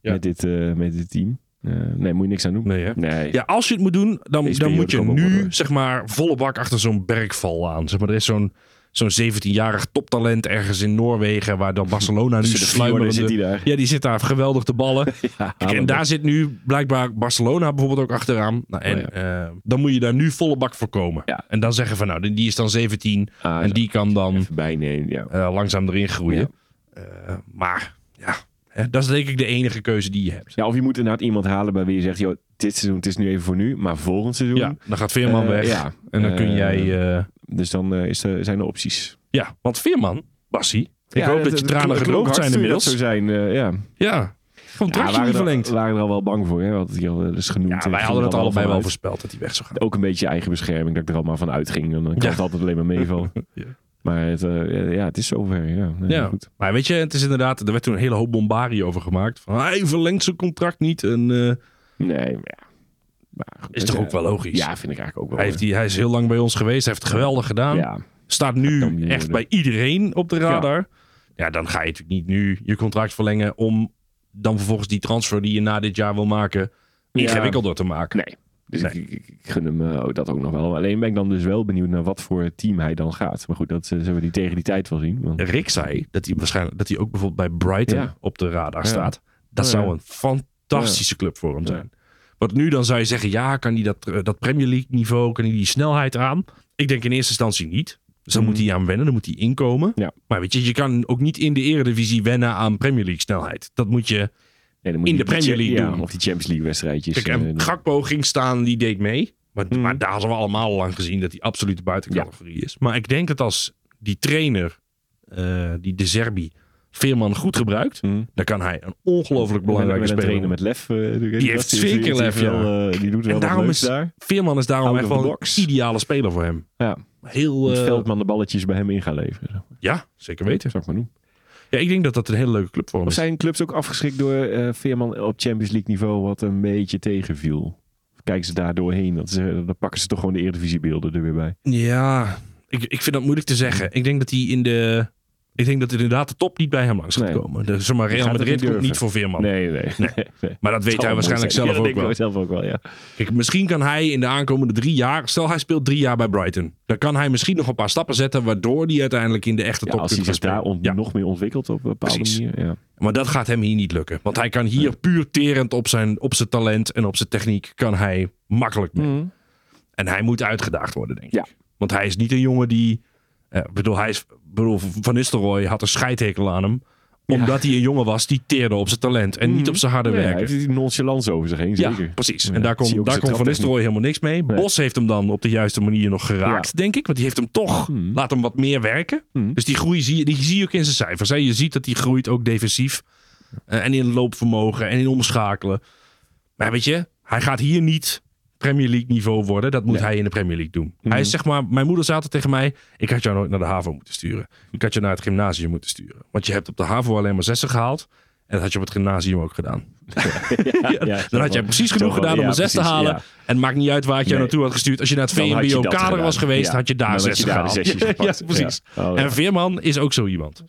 S1: Ja.
S5: met, dit, eh, met dit team. Eh, nee, moet je niks aan doen.
S1: Nee, hè?
S5: Nee.
S1: Ja, als je het moet doen, dan,
S5: Deze
S1: dan moet
S5: periode
S1: je
S5: kan wel
S1: nu
S5: worden.
S1: zeg maar volle bak achter zo'n bergval aan. Zeg maar, er is zo'n zo'n 17-jarig toptalent ergens in Noorwegen, waar
S5: [LAUGHS]
S1: dan Barcelona nu
S5: Tussen de fjorden
S1: sluimerende...
S5: zit hij daar.
S1: Ja, die zit daar geweldig te
S5: [LAUGHS]
S1: ballen.
S5: Ja,
S1: Kijk, en
S5: maar-
S1: daar zit nu blijkbaar Barcelona bijvoorbeeld ook achteraan. Nou, en
S5: Oh
S1: eh, dan moet je daar nu volle bak voor komen.
S5: Ja.
S1: En dan zeggen van nou, die die is dan 17
S5: Ah,
S1: en
S5: ja.
S1: die kan dan...
S5: Even bij, nee, ja.
S1: eh, langzaam erin groeien. Eh, maar ja, hè, dat is denk ik de enige keuze die je hebt.
S5: ja, of je moet inderdaad iemand halen bij wie je zegt, joh, dit seizoen, het is nu even voor nu, maar volgend seizoen.
S1: Ja, dan gaat Veerman
S5: Eh,
S1: weg.
S5: ja.
S1: En dan kun
S5: Eh,
S1: jij... eh,
S5: Dus dan eh, is er, zijn er opties.
S1: ja, want Veerman, Bassie. Ik
S5: Ja,
S1: hoop dat je tranen
S5: klonk
S1: gedroogd
S5: hard
S1: zijn
S5: toen je dat
S1: inmiddels.
S5: zou zijn, eh, ja.
S1: Ja, contractje
S5: waren
S1: niet
S5: er-
S1: verlengd.
S5: waren er al wel bang voor, hè. We hadden het hier al eens genoemd.
S1: Ja, wij
S5: en gingen
S1: hadden
S5: er
S1: het allebei wel
S5: vanuit.
S1: voorspeld dat hij weg zou gaan.
S5: ook een beetje eigen bescherming dat ik er allemaal van uitging. Dan kan
S1: Ja.
S5: het altijd alleen maar meevallen.
S1: [LAUGHS] Ja.
S5: Maar het, eh, ja, het is zover. Ja, Nee,
S1: Ja,
S5: Goed.
S1: maar weet je, het is inderdaad, er werd toen een hele hoop bombarie over gemaakt. Van, hij verlengt zijn contract niet. En, eh,
S5: Nee, maar ja. Maar goed,
S1: is
S5: het,
S1: toch
S5: eh,
S1: ook wel logisch?
S5: Ja, vind ik eigenlijk ook wel.
S1: Hij, heeft die, hij is heel lang bij ons geweest, hij heeft het geweldig gedaan.
S5: ja.
S1: staat
S5: Dat kan
S1: nu
S5: niet
S1: echt bij
S5: worden.
S1: iedereen op de radar. Ja. dan ga je natuurlijk niet nu je contract verlengen om dan vervolgens die transfer die je na dit jaar wil maken
S5: Ja.
S1: ingewikkelder te maken.
S5: Nee. Dus ik, ik, ik gun hem eh, ook dat ook nog wel. Alleen ben ik dan dus wel benieuwd naar wat voor team hij dan gaat. Maar goed, dat eh, zullen we die tegen die tijd wel zien. Want,
S1: Rick zei dat hij waarschijnlijk dat hij ook bijvoorbeeld bij Brighton
S5: Ja. Oh,
S1: op de radar
S5: Ja.
S1: staat. Dat
S5: Ja.
S1: zou een fantastische club voor hem zijn. Wat nu dan zou je zeggen, ja, kan hij dat, eh, dat Premier League niveau, kan hij die snelheid aan? Ik denk in eerste instantie niet. Dus dan moet hij aan wennen, dan moet hij inkomen.
S5: Mhm. Ja.
S1: Maar weet je, je kan ook niet in de eredivisie wennen aan Premier League snelheid. Dat moet je...
S5: Nee, dan moet
S1: In de
S5: je die
S1: Premier
S5: cha-
S1: League
S5: ja,
S1: doen.
S5: Of die Champions League wedstrijdjes.
S1: Kijk, en
S5: eh, Hmm.
S1: Gakpo ging staan, die deed mee. Maar, maar daar hadden we allemaal al lang gezien dat hij absoluut de buitencategorie is. Maar ik denk dat als die trainer, eh, die de Zerbi, Veerman goed gebruikt,
S5: Hmm.
S1: dan kan hij een ongelooflijk belangrijke
S6: met, met een
S1: speler
S6: trainer
S1: worden.
S6: met lef. eh, die
S1: heeft zeker lef, ja.
S5: eh,
S6: die doet wel
S1: En
S6: wat
S1: daarom
S6: leuks
S1: is eh,
S6: daar.
S1: Veerman is daarom
S5: Out
S1: echt
S5: of
S1: wel
S5: the
S1: een
S5: box.
S1: ideale speler voor hem.
S5: Ja.
S1: Heel,
S5: moet
S1: eh,
S5: Veldman de balletjes bij hem in gaan leveren.
S1: ja, zeker weten.
S5: Zou ik maar doen.
S1: Ja, ik denk dat dat een hele leuke club voor hem
S5: Of
S1: is.
S5: zijn clubs ook afgeschrikt door eh, Veerman op Champions League niveau wat een beetje tegenviel? Of Kijken ze daar doorheen? Dat ze, dan pakken ze toch gewoon de Eredivisiebeelden er weer bij.
S1: Ja, ik, ik vind dat moeilijk te zeggen.
S5: Hmm.
S1: Ik denk dat hij in de... Ik denk dat inderdaad de top niet bij hem langs gaat
S5: Nee.
S1: komen. De, zeg maar,
S5: gaat
S1: Real
S5: het
S1: Madrid
S5: niet
S1: komt niet
S5: durven.
S1: voor Veerman.
S5: Nee, [LAUGHS] nee. nee.
S1: Maar dat Oh. weet hij waarschijnlijk zelf ook wel.
S5: Dat zelf ook wel, ja.
S1: Kijk, misschien kan hij in de aankomende drie jaar... Stel, hij speelt drie jaar bij Brighton. Dan kan hij misschien nog een paar stappen zetten... waardoor hij uiteindelijk in de echte
S5: Ja,
S1: top
S5: als
S1: kunt
S5: hij
S1: gaan
S5: zich daar
S1: spelen.
S5: on-
S1: Ja,
S5: nog meer ontwikkelt op een bepaalde
S1: Precies.
S5: manier. Ja.
S1: maar dat gaat hem hier niet lukken. Want hij kan hier puur terend op zijn, op zijn talent en op zijn techniek... kan hij makkelijk mee. En hij moet uitgedaagd worden, denk
S5: Mhm. Ja.
S1: ik. Want hij is niet een jongen die... eh, Ik bedoel, hij is, ik bedoel, Van Nistelrooy had een scheidhekel aan hem... omdat hij een jongen was die teerde op zijn talent... en niet op zijn harde
S5: Ja, hij
S1: werken.
S5: heeft die nonchalance over zich heen, zeker.
S1: Ja, precies.
S5: Ja,
S1: En daar
S5: zie je
S1: kon,
S5: ook
S1: daar
S5: zijn
S1: kon Van
S5: traptechniek.
S1: Nistelrooy helemaal niks mee.
S5: Nee.
S1: Bos heeft hem dan op de juiste manier nog geraakt, denk ik. Want die heeft hem toch
S5: Hmm.
S1: laat hem wat meer werken.
S5: Hmm.
S1: Dus die groei zie je, die zie je ook in zijn cijfers. Hè. Je ziet dat die groeit ook defensief. Eh, en in loopvermogen en in omschakelen. Maar weet je, hij gaat hier niet Premier League niveau worden. Dat moet hij in de Premier League doen.
S5: Hmm.
S1: Hij is zeg maar, mijn moeder zei altijd tegen mij... ik had jou nooit naar de HAVO moeten sturen. Ik had je naar het gymnasium moeten sturen. Want je hebt op de HAVO alleen maar zessen gehaald. En dat had je op het gymnasium ook gedaan.
S5: Ja,
S1: Dan had jij
S5: je
S1: precies genoeg gedaan om een zes te halen. En het maakt niet uit waar ik jou
S5: Nee.
S1: naartoe had gestuurd. Als je naar het VMBO-kader was geweest, had je daar zes gehaald. [LAUGHS] ja, precies.
S5: Oh,
S1: En Veerman is ook zo
S5: [LAUGHS]
S1: iemand.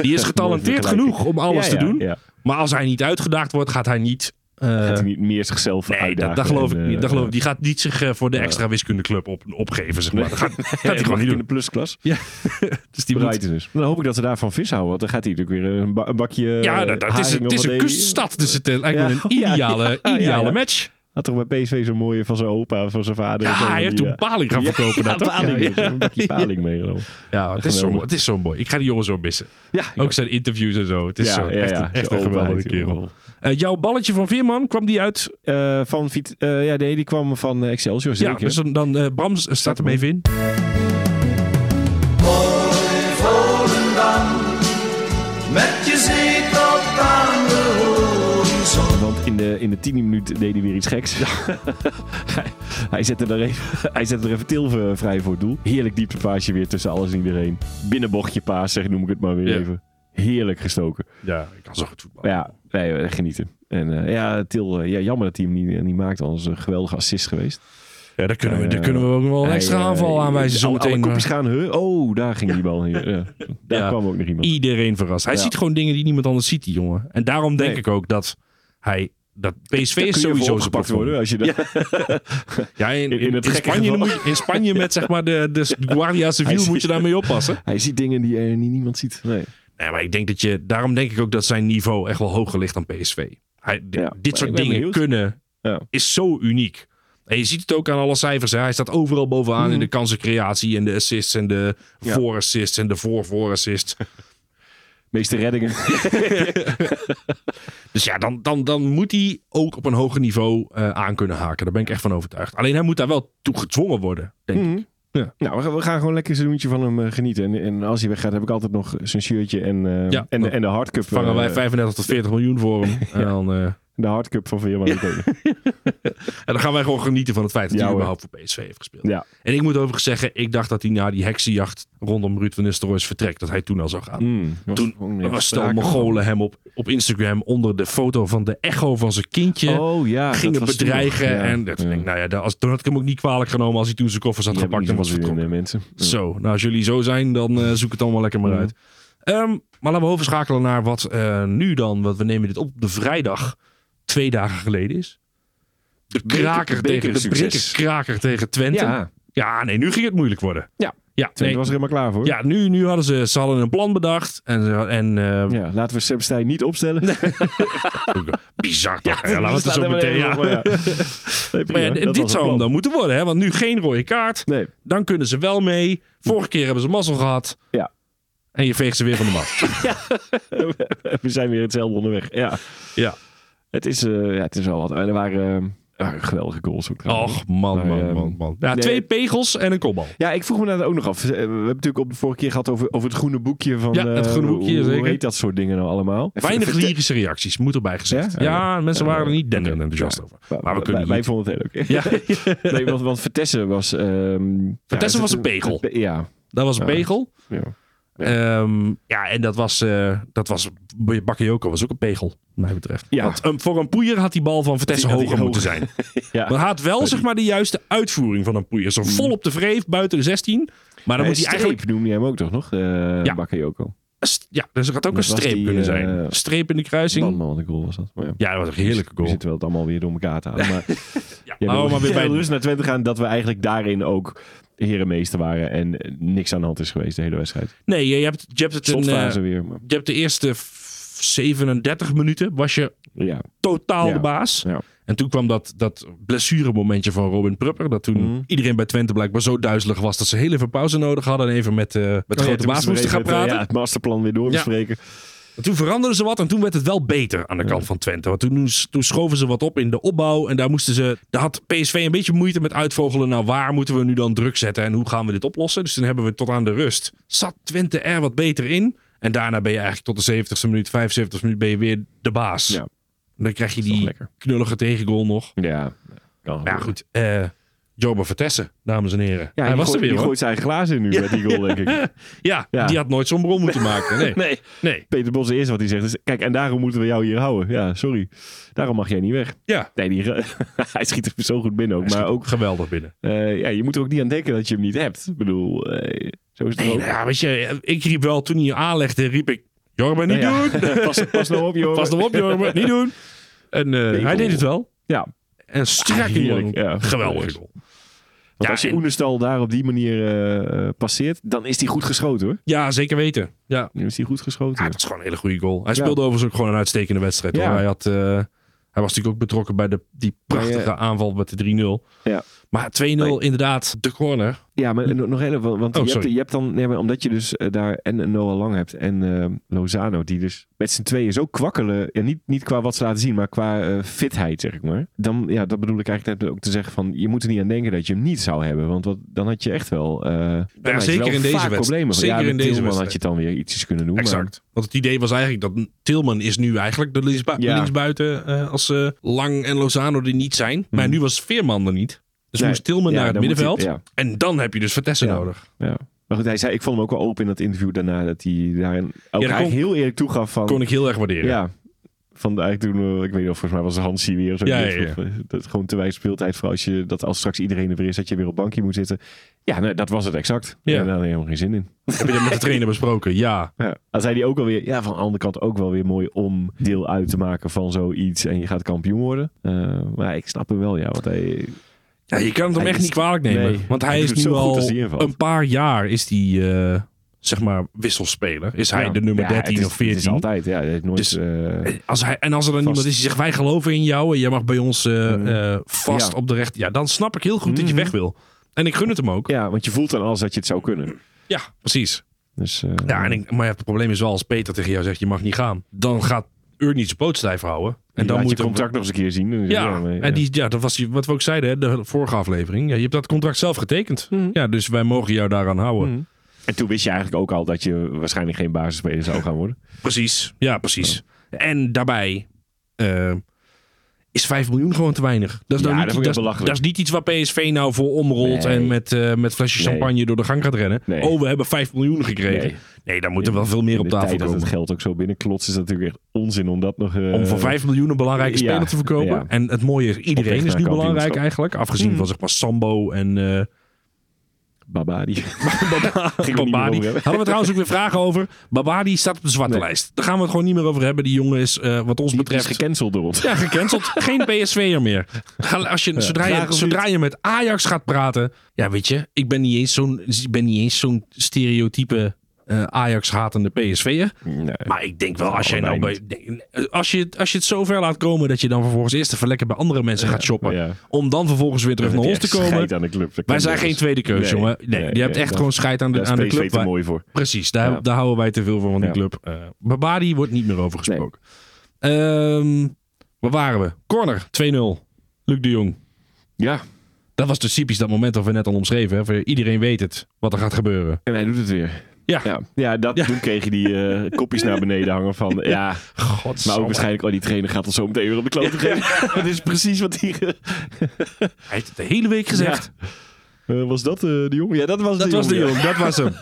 S1: Die is getalenteerd
S5: vergelijking.
S1: genoeg om alles te doen.
S5: Ja.
S1: Maar als hij niet uitgedaagd wordt, gaat hij niet... eh,
S5: Gaat hij niet meer zichzelf
S1: nee,
S5: uitdagen?
S1: dat, dat geloof ik
S5: en,
S1: niet.
S5: eh,
S1: Dat geloof ik. Die gaat niet zich eh, voor de extra wiskundeclub op, opgeven, zeg maar. Dat
S5: [LAUGHS]
S1: gaat, gaat hij gewoon niet
S5: in de
S1: doen.
S5: plusklas.
S1: Dus die moet,
S5: Brighton dus. Dan hoop ik dat ze daarvan vis houden. Want dan gaat hij natuurlijk weer een, ba- een bakje
S1: ja,
S5: eh,
S1: dat, dat is,
S5: haring
S1: een- het is
S5: of wat
S1: een
S5: deed hij.
S1: kuststad. Dus het is eigenlijk
S5: Ja.
S1: een ideale,
S5: Ja, ja, ja.
S1: ideale match.
S5: Had toch bij PSV zo'n mooie van zijn opa, van zijn vader.
S1: Ja,
S5: Zo,
S1: hij heeft
S5: die,
S1: toen
S5: eh,
S1: paling gaan verkopen.
S5: [LAUGHS] ja,
S1: dat, toch?
S5: paling.
S1: [LAUGHS] Ja,
S5: dus Een bakje paling meegenomen.
S1: Ja, het is, zo,
S5: Geweldig.
S1: het is zo mooi. Ik ga die jongen zo missen.
S5: Ja,
S1: Ook zijn interviews en zo. Het Oh, is zo, echt, een- echt een geweldige kerel. Eh, jouw balletje van Veerman, kwam die uit?
S5: Eh, van Viet, eh, ja, nee, die kwam van eh, Excelsior zeker.
S1: Ja, dus dan, dan eh, Bram s- staat hem even in.
S5: Want in de, in de tiende minuut deed hij weer iets geks. [LAUGHS] hij, hij, zette er even, hij zette er even Tilve vrij voor het doel. Heerlijk dieptepaasje weer tussen alles en iedereen. Binnenbochtje paas, zeg, noem ik het maar weer
S1: Ja.
S5: even. Heerlijk gestoken.
S1: Ja, ik kan zo goed voetballen.
S5: Maar ja, nee, eh, genieten. En eh, ja, Til, eh, ja, jammer dat hij hem niet, niet maakt. Anders een geweldige assist geweest.
S1: Ja, daar kunnen we, daar
S5: Eh,
S1: kunnen we ook nog wel een
S5: Hij,
S1: extra
S5: eh,
S1: aanval aanwijzen
S5: alle- alle
S1: zometeen. eh,
S5: kopjes
S1: maar
S5: gaan, huh? Oh, daar ging die bal hier. Ja. Daar
S1: Ja.
S5: kwam ook nog iemand.
S1: Iedereen verrast. Hij
S5: Ja.
S1: ziet gewoon dingen die niemand anders ziet, die jongen. En daarom denk
S5: Nee.
S1: ik ook dat hij... Dat PSV
S5: Daar
S1: is
S5: kun je voor
S1: sowieso
S5: opgepakt
S1: zijn
S5: worden
S1: worden.
S5: als je dat...
S1: Ja, in, in,
S5: in het
S1: in
S5: gekke
S1: Spanje,
S5: geval.
S1: moet je, in Spanje met zeg maar de,
S5: [LAUGHS]
S1: de Guardia Civil
S5: Hij
S1: moet
S5: ziet-
S1: je daarmee oppassen.
S5: Hij ziet dingen die, eh, die niemand ziet. Nee.
S1: Nee, maar ik denk dat je, daarom denk ik ook dat zijn niveau echt wel hoger ligt dan PSV. Hij, di-
S5: Ja,
S1: dit
S5: maar
S1: soort
S5: ik ben
S1: dingen
S5: benieuwd.
S1: kunnen
S5: Ja.
S1: is zo uniek. En je ziet het ook aan alle cijfers. Hè? Hij staat overal bovenaan in de kansencreatie en de assists en de
S5: Mhm. Ja.
S1: voor-assists en de
S5: [LAUGHS]
S1: voor-voor-assists.
S5: Meeste reddingen.
S1: Dus ja, dan, dan, dan moet hij ook op een hoger niveau eh, aan kunnen haken. Daar ben ik echt van overtuigd. Alleen hij moet daar wel toe gedwongen worden, denk ik. Ja.
S5: [LAUGHS] Nou, we gaan, we gaan gewoon lekker een seizoentje van hem eh, genieten. En, en als hij weggaat, heb ik altijd nog zijn shirtje en, eh,
S1: Ja,
S5: en,
S1: dan
S5: en de hardcup.
S1: Vangen
S5: eh,
S1: wij 35 tot 40 miljoen voor
S5: [LAUGHS]
S1: hem. en, dan, eh,
S5: De hardcup van Veerman. Ja.
S1: en dan gaan wij gewoon genieten van het feit dat
S5: Ja,
S1: hij
S5: hoor.
S1: überhaupt voor PSV heeft gespeeld. [LAUGHS]
S5: ja.
S1: En ik moet overigens zeggen, ik dacht dat hij na die heksenjacht rondom Ruud van Nistelrooy's vertrek, dat hij toen al zou
S5: Mm.
S1: gaan. Toen
S5: eh,
S1: was Stel Mongolen hem op, op Instagram onder de foto van de echo van zijn kindje.
S5: Oh ja.
S1: gingen
S5: dat was toen nog.
S1: bedreigen.
S5: Ja.
S1: En dat,
S5: Ja.
S1: denk, ik, nou ja, daar- als, toen had ik hem ook niet kwalijk genomen als hij toen zijn koffers had
S5: Die hebben
S1: gepakt en was
S5: niet zoveel zin in,
S1: vertrokken.
S5: eh, mensen. Ja.
S1: Zo, nou als jullie zo zijn, dan eh, zoek het allemaal lekker maar
S5: Ja.
S1: uit. Ehm, maar laten we overschakelen naar wat eh, nu dan, want we nemen dit op de vrijdag, twee dagen geleden is. De
S5: beker-
S1: kraker tegen, de
S5: bekersucces.
S1: bekerkraker tegen Twente.
S5: Ja.
S1: Ja, nee, nu ging het moeilijk worden.
S5: Ja.
S1: Ja,
S5: Twente
S1: nee.
S5: was er helemaal klaar voor.
S1: ja nu, nu hadden ze, ze hadden een plan bedacht. En, ze- en eh,
S5: Ja, laten we Sam Stein niet opstellen.
S1: bizar toch? Ja, laten we het
S5: staat
S1: zo
S5: helemaal
S1: meteen.
S5: nergens
S1: Ja.
S5: op, maar ja. Nee,
S1: [LAUGHS]
S5: prima.
S1: Maar ja,
S5: Dat was
S1: dit
S5: het
S1: zou hem
S5: plan.
S1: dan moeten worden, hè? Want nu geen rode kaart.
S5: Nee,
S1: Dan kunnen ze wel mee. Vorige keer hebben ze mazzel gehad.
S5: Ja.
S1: En je veegt ze weer van de mat.
S5: [LAUGHS] we zijn weer hetzelfde onderweg. Ja.
S1: Ja.
S5: Het is, eh, ja, het is wel wat. En er waren, eh, er waren geweldige goals ook. trouwens.
S1: Och, man,
S5: Maar,
S1: man,
S5: ehm,
S1: man, man. Ja,
S5: nee.
S1: Twee pegels en een kopbal.
S5: Ja, ik vroeg me dat ook nog af. Eh, We hebben natuurlijk op de vorige keer gehad over, over het groene boekje van...
S1: Ja, het
S5: eh,
S1: groene boekje,
S5: hoe,
S1: zeker.
S5: Hoe heet dat soort dingen nou allemaal?
S1: Weinig
S5: Vertel-
S1: lyrische reacties, moet erbij gezegd.
S5: Ja?
S1: Ja, mensen waren er niet denderend
S5: Oké.
S1: enthousiast
S5: Ja.
S1: over. Maar we kunnen
S5: wij, wij
S1: niet.
S5: vonden het heel leuk.
S1: Ja,
S5: [LAUGHS]
S1: [LAUGHS]
S5: nee, want, want Vertessen was... ehm
S1: Vertessen
S5: ja,
S1: was een pegel.
S5: pe- Ja.
S1: dat was een
S5: Ja.
S1: pegel.
S5: ja.
S1: Ehm, ja, en dat was, eh dat was Bakayoko was ook een pegel, wat mij betreft.
S5: Ja.
S1: Want ehm, voor een poeier had die bal van Vitesse
S5: Die had die
S1: hoger moeten zijn.
S5: [LAUGHS] Ja.
S1: Maar hij had wel zeg maar de juiste uitvoering van een poeier. Zo vol op de wreef, buiten de 16. Maar dan
S5: Eh,
S1: moet hij
S5: Streep
S1: eigenlijk...
S5: noemde je hem ook toch nog? eh
S1: Ja.
S5: Bakayoko.
S1: st- Ja, dus er had ook
S5: Dat
S1: een
S5: was
S1: streep
S5: die,
S1: kunnen
S5: eh,
S1: zijn. streep in de kruising.
S5: Man, man, wat een goal was dat. Maar ja.
S1: Ja, dat was een heerlijke
S5: We
S1: goal.
S5: zitten wel het allemaal weer door elkaar te halen. Maar
S1: [LAUGHS] Ja,
S5: [LAUGHS] ja,
S1: nou, maar weer bij
S5: rust naar Twente gaan dat we eigenlijk daarin ook herenmeester waren. En eh, niks aan de hand is geweest de hele wedstrijd.
S1: Nee, je hebt, je hebt het een, eh,
S5: Slotfase weer. Maar,
S1: je hebt de eerste f- 37 minuten was je
S5: ja.
S1: totaal
S5: Ja,
S1: de baas.
S5: ja.
S1: En toen kwam dat, dat blessuremomentje van Robin Prupper. Dat toen
S5: Mhm.
S1: iedereen bij Twente blijkbaar zo duizelig was dat ze heel even pauze nodig hadden. En even met, eh
S5: Oh
S1: met de grote baas moesten gaan praten.
S5: Ja, het masterplan weer doorbespreken.
S1: En Toen veranderden ze wat en toen werd het wel beter aan de kant van Twente. Want toen, toen schoven ze wat op in de opbouw. En daar moesten ze. Daar had PSV een beetje moeite met uitvogelen. Nou, waar moeten we nu dan druk zetten en hoe gaan we dit oplossen? Dus toen hebben we tot aan de rust. Zat Twente er wat beter in? En daarna ben je eigenlijk tot de 70ste minuut, 75ste minuut ben je weer de baas.
S5: Ja.
S1: Dan krijg je
S5: is toch
S1: die
S5: lekker.
S1: knullige tegengoal nog.
S5: Ja. ja. Kan
S1: Maar ja, goed, eh Joba Vertessen, dames en heren.
S5: Ja,
S1: Hij
S5: die
S1: was
S5: gooit-
S1: er weer
S5: Die
S1: hoor.
S5: gooit zijn eigen glazen in nu met die goal, denk ik.
S1: Ja,
S5: Ja.
S1: die had nooit zo'n bron moeten maken.
S5: [LAUGHS]
S1: Nee. [LAUGHS] nee.
S5: Peter Bos, het eerste wat hij zegt is... Kijk, en daarom moeten we jou hier houden. Ja, sorry. Daarom mag jij niet weg.
S1: Ja.
S5: Nee, die, [LAUGHS] hij schiet er zo goed binnen ook. Maar ook,
S1: geweldig binnen.
S5: eh, ja, je moet er ook niet aan denken dat je hem niet hebt. Ik bedoel, eh, zo is het
S1: Nee,
S5: ook.
S1: nou ja, weet je, ik riep wel toen hij je aanlegde, riep ik: Jorben, niet
S5: Ja, ja. [LAUGHS]
S1: doen!
S5: pas, pas nou
S1: [LAUGHS]
S5: op, joh.
S1: Pas nou op, Jorben, niet doen! En eh, hij
S5: goal.
S1: deed het wel.
S5: Ja.
S1: En strak in
S5: Ah, Heerlijk,
S1: lang.
S5: ja.
S1: Geweldig. goal.
S5: Want
S1: Ja,
S5: als je
S1: en-
S5: Oenestal daar op die manier eh, eh, passeert, dan is hij goed geschoten hoor.
S1: Ja, zeker weten. Ja.
S5: Dan is hij goed geschoten.
S1: ja, dat is gewoon een hele goede goal. Hij
S5: Ja.
S1: speelde overigens ook gewoon een uitstekende wedstrijd. hoor.
S5: Ja.
S1: Hij, had, eh, hij was natuurlijk ook betrokken bij de, die prachtige
S5: Maar,
S1: aanval met de 3-0.
S5: Ja.
S1: Maar 2-0
S5: Nee.
S1: inderdaad, de corner.
S5: Ja, maar eh, no- nog even, want
S1: Oh,
S5: je, hebt,
S1: sorry.
S5: je hebt dan, nee, maar omdat je dus eh, daar en een Noah Lang hebt en eh, Lozano, die dus met z'n tweeën zo kwakkelen, ja, niet, niet qua wat ze laten zien, maar qua eh, fitheid, zeg ik maar. Dan, ja, dat bedoel ik eigenlijk net ook te zeggen van, je moet er niet aan denken dat je hem niet zou hebben, want wat, dan had je echt wel, eh, dan had je
S1: zeker
S5: wel
S1: in deze
S5: vaak
S1: wedstrijd.
S5: problemen.
S1: Zeker
S5: ja, met
S1: in deze
S5: Tilman had je
S1: wedstrijd.
S5: dan weer ietsjes kunnen doen. maar-
S1: Exact. Want het idee was eigenlijk dat Tilman is nu eigenlijk de linksbu-
S5: Ja.
S1: linksbuiten eh, als eh, Lang en Lozano er niet zijn. Maar nu was Veerman er niet. Dus
S5: Mhm. Nee.
S1: moest Tilman
S5: Ja,
S1: naar het
S5: dan moet hij-
S1: middenveld.
S5: ja.
S1: En dan heb je dus Vertessen
S5: Ja.
S1: nodig.
S5: Ja. Maar goed, hij zei, ik vond hem ook wel open in dat interview daarna. Dat hij daarin ook eigenlijk
S1: kon-
S5: heel eerlijk toegaf van...
S1: Kon ik heel erg waarderen.
S5: ja, van de- eigenlijk toen, eh, ik weet niet of volgens mij was het Hansie weer of zo.
S1: Ja,
S5: Die
S1: ja,
S5: vroeg, eh, Dat is gewoon te weinig speeltijd voor als je dat als straks iedereen er weer is, dat je weer op bankje moet zitten. Ja, nee, dat was het exact.
S1: Ja.
S5: Ja. daar had hij helemaal geen zin in.
S1: Heb je dat met de trainer besproken? Ja.
S5: Ja. Dan zei hij ook alweer, ja, van de andere kant ook wel weer mooi om deel uit te maken van zoiets en je gaat kampioen worden. Eh, maar ik snap hem wel, ja, want hij...
S1: ja je kan het hem
S5: Hij
S1: echt
S5: is-
S1: niet kwalijk nemen.
S5: Nee.
S1: Want hij,
S5: Hij
S1: is
S5: doet het
S1: nu
S5: zo goed als
S1: al
S5: hij invalt.
S1: een paar jaar is die, eh, zeg maar, wisselspeler. Is hij
S5: ja,
S1: de nummer
S5: ja,
S1: 13
S5: het is-
S1: of 14?
S5: Het is altijd, ja. Het heeft nooit...
S1: Dus-
S5: eh,
S1: Als hij, en als er dan iemand is die zegt, wij geloven in jou en jij mag bij ons eh, eh, vast
S5: Ja.
S1: op de recht. Ja, dan snap ik heel goed dat je weg wil. En ik gun het hem ook. Ja,
S5: ja, want je voelt dan alles dat je het zou kunnen.
S1: precies.
S5: Dus, eh,
S1: Ja, en ik, maar ja, het probleem is wel, als Peter tegen jou zegt, je mag niet gaan. Dan gaat Ur niet zijn poot stijf houden. En dan moet
S5: je
S1: er-
S5: contract nog eens een keer zien. eh, En
S1: Ja, en die, ja, dat was die, wat we ook zeiden, hè, de vorige aflevering. Ja, je hebt dat contract zelf getekend. Ja, dus wij mogen jou daaraan houden.
S5: en toen wist je eigenlijk ook al dat je waarschijnlijk geen basisspeler zou gaan worden.
S1: Precies, ja, precies. En daarbij eh, is 5 miljoen gewoon te weinig. Dat is, nou
S5: Ja, dat
S1: niet,
S5: vond ik
S1: dat, is-
S5: belachelijk.
S1: dat is niet iets waar PSV nou voor omrolt
S5: Nee.
S1: en met, eh met flesjes
S5: Nee.
S1: champagne door de gang gaat rennen.
S5: Nee.
S1: Oh, we hebben 5 miljoen gekregen. Nee,
S5: Nee.
S1: daar moet er wel veel meer op
S5: de
S1: tafel
S5: tijd dat
S1: komen.
S5: het geld ook zo binnenklotst is dat natuurlijk echt onzin om dat nog... eh,
S1: Om voor 5 miljoen een belangrijke
S5: ja,
S1: speler te verkopen.
S5: ja. Hmm.
S1: En het mooie is,
S5: Op weg
S1: iedereen is
S5: naar
S1: nu belangrijk
S5: kampioenschap.
S1: eigenlijk. Afgezien van zeg maar Sambo en eh [LAUGHS]
S5: Babadi. Ging er niet meer
S1: Babadi.
S5: over hebben.
S1: Hadden we trouwens ook weer vragen over. Babadi staat op de zwarte
S5: Nee.
S1: lijst. Daar gaan we het gewoon niet meer over hebben. Die jongen is eh, wat ons
S5: Die is
S1: betreft...
S5: gecanceld door ons.
S1: ja, gecanceld. Geen PSV'er meer. Ga- Als je, zodra,
S6: vraag
S1: je,
S6: of
S1: zodra je met Ajax gaat praten... Ja, weet je, ik ben niet eens zo'n, ik ben niet eens zo'n stereotype eh, Ajax-hatende PSV'er.
S5: [LAUGHS] Nee.
S1: Maar ik denk wel, als, jij nou bij,
S5: allebei
S1: als, je, als je het zo ver laat komen... dat je dan vervolgens eerst even lekker bij andere mensen gaat shoppen...
S5: ja.
S1: om dan vervolgens weer terug naar ons te komen...
S5: Aan de club. Dat
S1: Wij zijn
S5: kan niet
S1: geen
S5: anders.
S1: tweede keuze,
S5: Nee.
S1: jongen. Nee,
S5: Nee,
S1: je hebt
S5: nee,
S1: echt
S5: dat-
S1: gewoon scheid aan de, aan
S5: dus- Daar
S1: de
S5: is
S1: club.
S5: PSV te
S1: Wij-
S5: mooi voor.
S1: Precies, daar,
S5: Ja.
S1: daar houden wij te veel van van die
S5: Ja.
S1: club. Eh Babadi wordt niet meer over gesproken. Ehm, waar waren we? Corner, 2-0. Luc de Jong.
S5: Ja,
S1: Dat was dus typisch dat moment dat we net al omschreven. Hè? Voor Iedereen weet het, wat er gaat gebeuren.
S5: en hij doet het weer.
S1: Ja.
S5: Ja, ja dat, toen kreeg je die
S1: [LAUGHS]
S5: eh, kopjes naar beneden hangen van... Ja,
S1: God,
S5: maar ook waarschijnlijk... Oh, die trainer gaat ons zo meteen weer op de klote geven. [LAUGHS] dat is precies wat hij... ge-
S1: Hij heeft het de hele week gezegd.
S5: Eh, was dat eh, de jongen? Ja, dat was
S1: dat
S5: de
S1: was de
S5: jongen.
S1: Jong, dat was
S5: [LAUGHS]
S1: hem.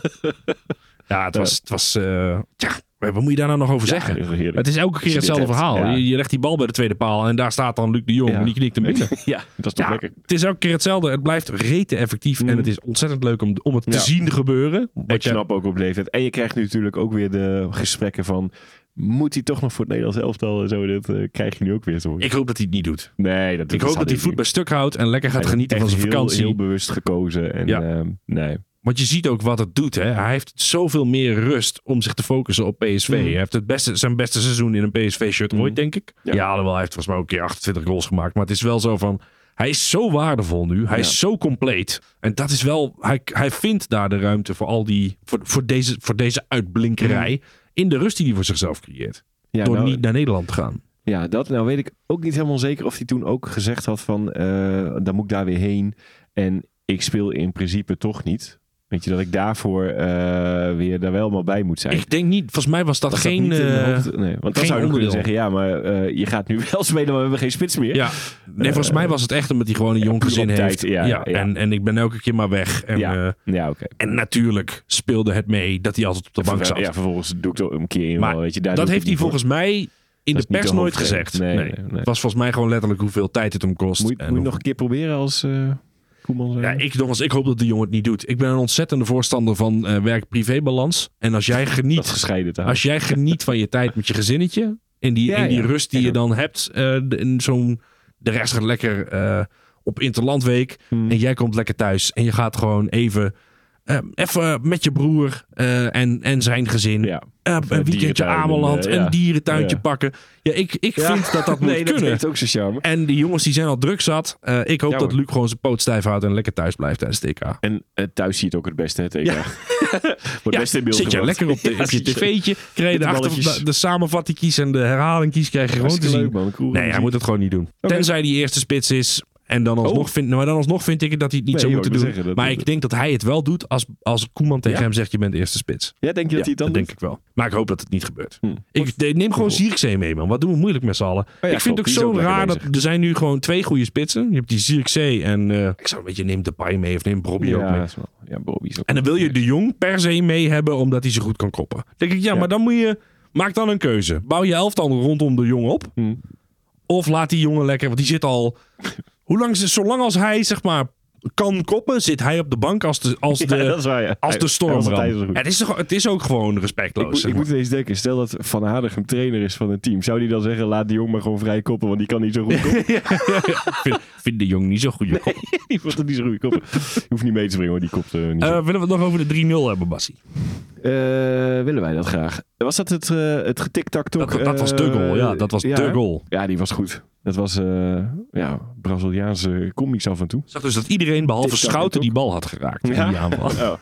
S1: ja, het was... Het was eh, tja, wat moet je daar nou nog over zeggen?
S5: Ja, heerlijk.
S1: Het is elke keer
S5: je dit
S1: hetzelfde
S5: hebt,
S1: verhaal.
S5: ja.
S1: Je, je legt die bal bij de tweede paal en daar staat dan Luc de Jong
S5: Ja.
S1: en die knikt hem binnen.
S5: Ja, dat is toch
S1: Ja,
S5: lekker. Mm.
S1: het is elke keer hetzelfde. Het blijft rete effectief. En het is ontzettend leuk om, om het te
S5: Ja.
S1: zien gebeuren.
S5: Ik
S1: Wat je,
S5: snap ook op leeftijd. En je krijgt nu natuurlijk ook weer de gesprekken van... Moet hij toch nog voor het Nederlands elftal en zo? Dat eh, krijg je nu ook weer te horen.
S1: ik hoop dat hij het niet doet.
S5: nee, dat
S1: ik hoop dat hij voet bij stuk houdt en lekker gaat genieten van zijn vakantie.
S5: heel bewust gekozen. En,
S1: Ja.
S5: ehm, nee.
S1: Want je ziet ook wat het doet. Hè? Hij heeft zoveel meer rust om zich te focussen op PSV.
S5: Mhm.
S1: Hij heeft het beste, zijn beste seizoen in een PSV-shirt ooit, denk ik. Ja,
S5: Ja.
S1: alhoewel, hij heeft volgens mij ook een keer 28 goals gemaakt. Maar het is wel zo van... Hij is zo waardevol nu. Hij is zo compleet. En dat is wel... Hij, hij vindt daar de ruimte voor al die... Voor, voor, deze, voor deze uitblinkerij. In de rust die hij voor zichzelf creëert.
S5: Mhm. Ja,
S1: door
S5: nou,
S1: niet naar Nederland te gaan.
S5: Ja, dat nou weet ik ook niet helemaal zeker of hij toen ook gezegd had van eh, dan moet ik daar weer heen en ik speel in principe toch niet. Weet je, dat ik daarvoor eh, weer daar wel maar bij moet zijn.
S1: Ik denk niet... Volgens mij was dat,
S5: Was dat
S1: geen...
S5: niet in de
S1: eh,
S5: hoofd- nee, want
S1: geen
S5: dan zou je nog
S1: onderdeel.
S5: kunnen zeggen, ja, maar eh, je gaat nu [LAUGHS] wel spelen, maar we hebben geen spits meer.
S1: Ja, nee, volgens mij was het echt omdat hij gewoon een jong
S5: Eh, puur
S1: gezin
S5: op tijd,
S1: heeft.
S5: ja, ja.
S1: En, en ik ben elke keer maar weg. En,
S5: Ja.
S1: eh,
S5: Ja, oké.
S1: en natuurlijk speelde het mee dat hij altijd op de bank zat.
S5: Ja, vervolgens doe ik toch een keer in.
S1: Maar
S5: wel, weet je, daar
S1: dat
S5: doe ik
S1: heeft hij
S5: het niet
S1: volgens mij in
S5: Dat
S1: de
S5: is niet
S1: pers
S5: de
S1: nooit
S5: hoofdreden.
S1: gezegd.
S5: Nee,
S1: Nee,
S5: nee, nee.
S1: Het was volgens mij gewoon letterlijk hoeveel tijd het hem kost.
S5: voor. Moet, moet
S1: en
S5: je het
S1: hoe-
S5: nog een keer proberen als eh Koeman? zei?
S1: ja, ik, nogmaals, ik hoop dat de jongen het niet doet. Ik ben een ontzettende voorstander van eh, werk-privé-balans. En als jij
S5: dat
S1: geniet
S5: gescheiden te houden.
S1: Als jij geniet van je tijd met je gezinnetje. En die,
S5: Oh. Ja,
S1: en die
S5: ja.
S1: rust die
S5: Ja.
S1: je dan hebt. eh, de- in zo'n, de rest gaat lekker eh, op Interlandweek.
S5: Hmm.
S1: En jij komt lekker thuis. En je gaat gewoon even. eh, even met je broer eh, en, en zijn gezin.
S5: Ja.
S1: eh, een weekendje
S5: dierentuin en,
S1: Ameland.
S5: eh, ja.
S1: Een dierentuintje
S5: Ja.
S1: pakken. Ja, ik, ik
S5: Ja.
S1: vind dat dat moet
S5: [LAUGHS] nee, dat
S1: kunnen.
S5: heeft ook zijn charme.
S1: En die jongens die zijn al druk zat. Eh, ik hoop
S5: Ja,
S1: dat
S5: hoor.
S1: Luc gewoon zijn poot stijf houdt. En lekker thuis blijft tijdens het TK.
S5: En eh, thuis zie je het ook het beste, hè, TK. [LAUGHS] Wordt
S1: Ja,
S5: best in beeld
S1: zit je
S5: gebracht.
S1: lekker op, de,
S5: [LAUGHS] Ja,
S1: op je
S5: zit
S1: tv'tje. Krijg je
S5: Met
S1: de,
S5: de
S1: achter,
S5: balletjes.
S1: de, de samenvattingkies en de herhalingkies krijg je gewoon te
S5: Hartstikke
S1: zien.
S5: leuk, man. Cool.
S1: Nee, hij moet het gewoon niet doen.
S5: Oké.
S1: Tenzij die eerste spits is. En dan alsnog,
S5: Oh.
S1: vind, maar dan alsnog vind ik dat hij het niet
S5: Nee,
S1: zou
S5: ik
S1: moeten
S5: wou
S1: doen.
S5: zeggen, dat-
S1: maar
S5: dat-
S1: ik denk dat hij het wel doet als, als Koeman tegen
S5: Ja?
S1: hem zegt... je bent de eerste spits.
S5: Ja, denk je dat
S1: Ja,
S5: hij het dan
S1: dat denk
S5: doet?
S1: ik wel. Maar ik hoop dat het niet gebeurt.
S5: Hm. Oh
S1: Ik, de- neem gewoon Zierkzee mee, man. Wat doen we moeilijk met z'n allen.
S5: ja,
S1: ik vind
S5: klopt.
S1: het
S5: Die
S1: ook
S5: is ook
S1: zo
S5: lekker
S1: raar dat
S5: bezig.
S1: er zijn nu gewoon twee goede spitsen. Je hebt die Zierkzee en... eh, ik zou een beetje neem Depay mee of neem Brobby ook mee.
S5: dat is wel- ja, Bobby is ook...
S1: En
S5: [LAUGHS]
S1: dan wil je de Jong per se mee hebben omdat hij ze goed kan koppen. Dan denk ik, ja, maar dan moet je... Maak dan een keuze. Bouw je elftal rondom de Jong op.
S5: Hm.
S1: Of laat die jongen lekker, want die zit al...
S5: [LAUGHS]
S1: Hoe lang, is- zolang als hij, zeg maar, kan koppen, zit hij op de bank als de, als de,
S5: [LAUGHS] Ja, dat is waar, ja.
S1: eh, als
S5: Hij-
S1: de storm
S5: hij was altijd
S1: brandt.
S5: zo goed.
S1: Het is, toch, het is ook gewoon respectloos.
S5: Ik, moet-
S1: zeg
S5: ik
S1: maar.
S5: moet eens denken, stel dat Van Hardegem trainer is van een team. Zou die dan zeggen, laat die jongen maar gewoon vrij koppen, want die kan niet zo
S1: [LAUGHS]
S5: goed koppen?
S1: Ik vind, vind de jong niet zo'n goede kop.
S5: die wordt er niet zo goed koppen. Je hoeft niet mee te springen, want die kopt eh, niet zo
S1: Eh, willen we het nog over de 3-0 hebben, Bassie?
S5: Eh, willen wij dat graag? Was dat het, eh het getik-tak-tok?
S1: Dat, dat was de goal, ja.
S5: eh,
S1: Dat was
S5: ja,
S1: de
S5: hè?
S1: goal.
S5: Ja, die was goed. Dat was eh ja, Braziliaanse comics af en toe.
S1: Ik zag dus dat iedereen, behalve
S5: Dit kan
S1: Schouten,
S5: ook.
S1: die bal had geraakt. in
S5: Ja.
S1: die
S5: [LAUGHS]
S1: aanval.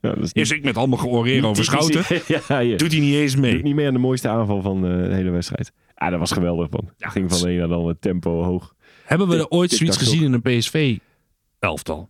S5: Ja, dat is
S1: Eerst ik met allemaal georeren over Schouten.
S5: [LAUGHS] ja, ja.
S1: Doet hij niet eens mee.
S5: Doet niet meer aan de mooiste aanval van eh, de hele wedstrijd. Ah, dat was geweldig, man.
S1: Ja,
S5: Ging van
S1: dat
S5: de een naar de ander, tempo hoog.
S1: Hebben we er ooit zoiets
S5: Tic-tac-toe.
S1: gezien in een PSV-elftal?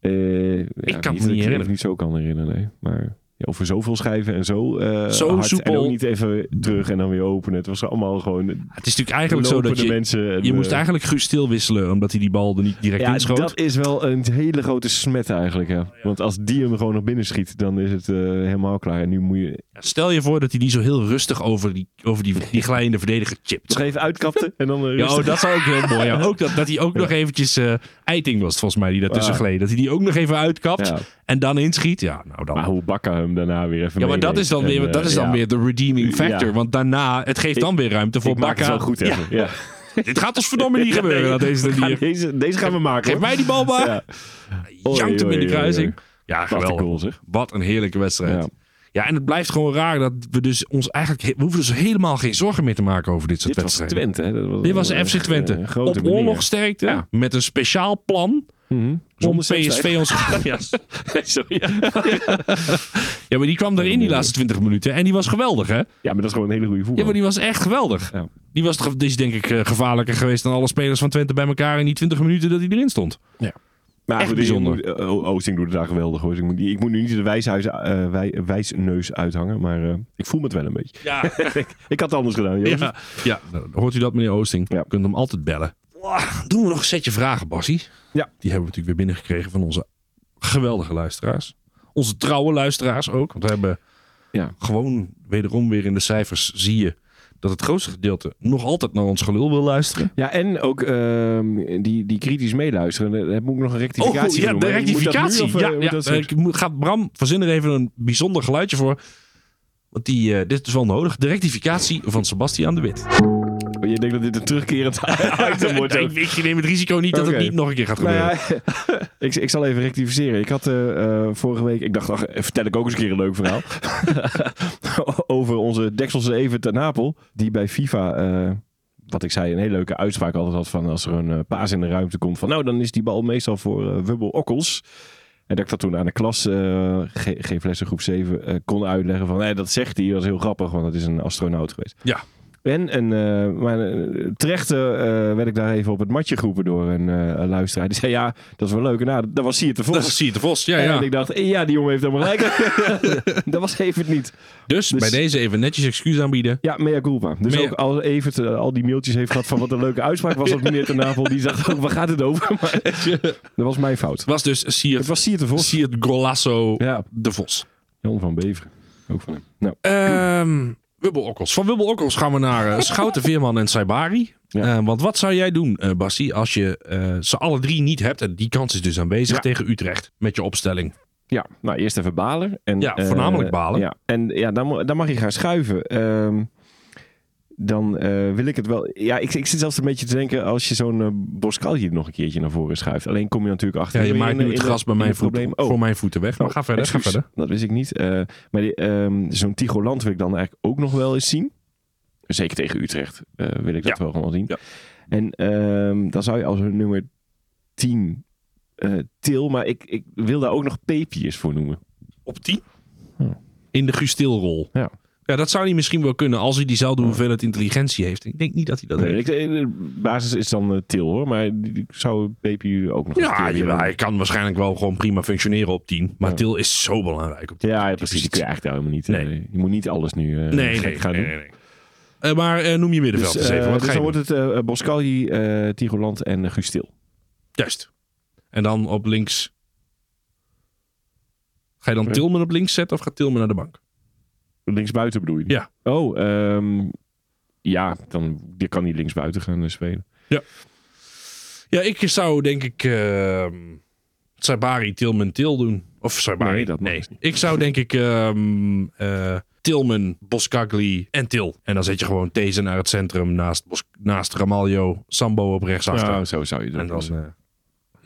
S5: Eh,
S1: kan
S5: ja,
S1: me niet
S5: Eh, dat ik
S1: herinneren.
S5: niet zo kan herinneren, nee. Maar ja, over zoveel schijven en zo, eh,
S1: Zo
S5: hard.
S1: soepel.
S5: En ook niet even terug en dan weer openen. Het was allemaal gewoon
S1: Het is natuurlijk eigenlijk zo
S5: lopende
S1: dat je...
S5: mensen. en,
S1: Je moest
S5: eh,
S1: eigenlijk Guus stil wisselen, omdat hij die bal er niet direct
S5: ja,
S1: inschoot.
S5: dat is wel een hele grote smet eigenlijk. Hè. Want als die hem gewoon nog binnen schiet, dan is het eh, helemaal klaar. En nu moet je...
S1: Ja, Stel je voor dat hij niet zo heel rustig over die, over die, die glijdende verdediger chipt.
S5: Nog even uitkapten en dan...
S1: Ja,
S5: eh, rustig-
S1: oh, dat zou ook
S5: [LAUGHS]
S1: heel mooi. Ja. Ook dat, dat hij ook nog eventjes... eh, Eiting was het volgens mij die daartussen
S5: Ja.
S1: gleed. Dat hij die ook nog even uitkapt
S5: Ja.
S1: en dan inschiet. Ja, nou dan...
S5: Maar hoe bakken hem daarna weer even
S1: Ja, maar dat
S5: meeneemt.
S1: is dan,
S5: En,
S1: weer,
S5: eh,
S1: dat is dan
S5: ja.
S1: weer de redeeming factor.
S5: Ja.
S1: Want daarna, het geeft dan weer ruimte voor
S5: Ik maak het
S1: Bakka.
S5: wel goed
S1: Ja,
S5: even. Ja.
S1: dit gaat ons
S5: [LAUGHS]
S1: verdomme niet gebeuren aan deze
S5: Ja,
S1: manier.
S5: deze, deze gaan we maken.
S1: Geef
S5: hoor.
S1: mij die bal maar.
S5: Ja. Oei,
S1: Jankt hem
S5: oei,
S1: in de
S5: oei,
S1: kruising.
S5: oei.
S1: Ja,
S5: Wat een
S1: geweldig.
S5: goal zeg.
S1: Wat een heerlijke wedstrijd.
S5: Ja.
S1: Ja. en het blijft gewoon raar dat we dus ons eigenlijk... he- We hoeven dus helemaal geen zorgen meer te maken over dit soort
S5: Dit was
S1: wedstrijden.
S5: Twente. Hè? Dat
S1: Dit was
S5: een,
S1: FC Twente.
S5: eh, grote
S1: Op
S5: meneer.
S1: oorlogsterkte,
S5: Ja.
S1: met een speciaal plan
S5: Mhm.
S1: om
S5: Zonder
S1: PSV ons...
S5: [LAUGHS]
S1: ja,
S5: Sorry.
S1: [LAUGHS] ja, maar die kwam erin die laatste 20 minuten en die was geweldig, hè?
S5: Ja, maar dat is gewoon een hele goede
S1: Ja,
S5: voetbal.
S1: maar die was echt geweldig.
S5: Ja.
S1: Die was toch- die is denk ik eh, gevaarlijker geweest dan alle spelers van Twente bij elkaar in die 20 minuten dat hij erin stond.
S5: Maar
S1: Echt
S5: goed, die-
S1: bijzonder.
S5: moet- eh, O- Oosting doet het daar geweldig hoor. Dus ik, moet, ik moet nu niet de wijshuis, eh, wij- wijsneus uithangen, maar eh, ik voel me het wel een beetje.
S1: Ja,
S5: Ik had het anders gedaan, Jozef.
S1: ja. nou, hoort u dat meneer Oosting?
S5: Ja.
S1: U kunt hem altijd bellen. Wah, Doen we nog een setje vragen, Bassie?
S5: Ja.
S1: Die hebben we natuurlijk weer binnengekregen van onze geweldige luisteraars. Onze trouwe luisteraars ook. Want we hebben
S5: Ja.
S1: gewoon wederom weer in de cijfers zie je dat het grootste gedeelte nog altijd naar ons gelul wil luisteren.
S5: Ja, en ook ehm, die, die kritisch meeluisteren. Daar heb ik nog een rectificatie voor
S1: Oh, ja,
S5: doen,
S1: de
S5: maar moet dat nu
S1: rectificatie.
S5: of, eh,
S1: ja,
S5: moet
S1: ja,
S5: dat
S1: eh,
S5: straks?
S1: ik moet, gaat Bram verzin er even een bijzonder geluidje voor. Want die, eh, dit is wel nodig. De rectificatie van Sebastiaan de Wit.
S5: Oh, Je denkt dat dit een terugkerend [LAUGHS] item wordt.
S1: [LAUGHS]
S5: ook.
S1: ik, ik neem het risico niet dat
S5: Oké.
S1: het niet nog een keer gaat
S5: Nou
S1: gebeuren.
S5: ja, [LAUGHS] ik, ik zal even rectificeren. Ik had eh, eh, vorige week, ik dacht, ach, vertel ik ook eens een keer een leuk verhaal. [LAUGHS] Over onze Dekselse even ten Napel, die bij FIFA, eh, wat ik zei, een hele leuke uitspraak altijd had van als er een eh, paas in de ruimte komt. Van nou, dan is die bal meestal voor eh, Wubbel Okkels. En dat ik dat toen aan de klas, eh G- G-flessen groep 7, eh, kon uitleggen van nee, dat zegt hij, dat is heel grappig, want dat is een astronaut geweest.
S1: Ja.
S5: En, en eh, maar, eh, terecht eh, werd ik daar even op het matje geroepen door een eh, luisteraar. Die zei, ja, dat is wel leuk. En nou, dat was Siert de
S1: Dat
S5: Vos.
S1: is Siert de Vos. Ja, ja.
S5: En ik dacht, eh, ja, die jongen heeft helemaal gelijk.
S1: [LAUGHS]
S5: [LAUGHS] dat was Evert niet.
S1: Dus,
S5: dus-
S1: bij deze even netjes excuus aanbieden.
S5: Ja, mea culpa. Dus
S1: Mea-
S5: ook als Evert eh, al die mailtjes heeft gehad van wat een leuke uitspraak was dat meneer ten Napel. Die dacht ook, waar gaat het over?
S1: [LAUGHS]
S5: Maar, dat was mijn fout.
S1: Het was dus
S5: Het
S1: Siert,
S5: was Siert de Vos.
S1: Siert Golasso
S5: Ja,
S1: de Vos.
S5: Jan van Beveren. Ook van hem. Nou,
S1: Ehm Wubbel Okkels. Van Wubbel Okkels gaan we naar eh, Schouten, Veerman en Saibari.
S5: Ja.
S1: Eh, want wat zou jij doen, eh Bassie, als je eh, ze alle drie niet hebt? En die kans is dus aanwezig
S5: Ja.
S1: tegen Utrecht met je opstelling.
S5: Ja, nou eerst even balen. En,
S1: Ja,
S5: eh,
S1: voornamelijk balen.
S5: Ja, en ja, dan, mo- dan mag je gaan schuiven. Ehm, dan eh, wil ik het wel. Ja, ik, ik zit zelfs een beetje te denken als je zo'n eh Boscalje nog een keertje naar voren schuift. Alleen kom je natuurlijk achter.
S1: Ja, je
S5: weer
S1: maakt
S5: in, eh,
S1: nu het
S5: in
S1: gras bij
S5: in
S1: mijn
S5: het probleem.
S1: voeten,
S5: Oh,
S1: voor mijn voeten weg. Maar
S5: oh,
S1: ga verder, ga
S5: excuus.
S1: verder.
S5: Dat wist ik niet. Eh, maar die, ehm, zo'n Tigoland wil ik dan eigenlijk ook nog wel eens zien. Zeker tegen Utrecht eh, wil ik dat wel gewoon zien.
S1: Ja.
S5: En ehm, dan zou je als hun nummer 10 eh Til, maar ik, ik wil daar ook nog Pepiers voor noemen.
S1: Op 10?
S5: Hm.
S1: In de Gustilrol.
S5: Ja.
S1: ja, dat zou hij misschien wel kunnen als hij diezelfde hoeveelheid intelligentie heeft. Ik denk niet dat hij dat
S5: Nee,
S1: heeft.
S5: ik, eh, de basis is dan eh, Til hoor, maar die- die zou BPU ook nog een keer
S1: Ja,
S5: willen.
S1: jawel, hij kan waarschijnlijk wel gewoon prima functioneren op 10. Maar
S5: Ja.
S1: Til is zo belangrijk op 10.
S5: ja, ja, precies. Die kun je eigenlijk helemaal niet. eh,
S1: Nee.
S5: je moet niet alles nu eh,
S1: Nee,
S5: gek
S1: nee,
S5: gaan
S1: nee, nee,
S5: doen.
S1: nee. Eh, maar eh, noem je middenveld
S5: Dus,
S1: eens even.
S5: eh,
S1: Wat
S5: dus
S1: ga je
S5: dan
S1: doen?
S5: wordt het eh Boscalli, eh Tigoland en eh, Guus Til.
S1: Juist. En dan op links. Ga je dan
S5: Ja.
S1: Tilman op links zetten of gaat Tilman naar de bank?
S5: Linksbuiten bedoel je?
S1: Ja.
S5: Oh, ehm, ja, dan die kan hij linksbuiten gaan eh, spelen.
S1: Ja, ik zou denk ik ehm Saibari, Tilman, Til doen. Of Saibari.
S5: Nee, dat mag dus niet.
S1: Ik zou denk ik ehm eh, Tilman, Boskagli en Til. En dan zet je gewoon Tezen naar het centrum naast, Bos naast Ramaljo, Sambo op rechtsachter.
S5: Nou, zo zou je
S1: en
S5: dat
S1: dan
S5: doen.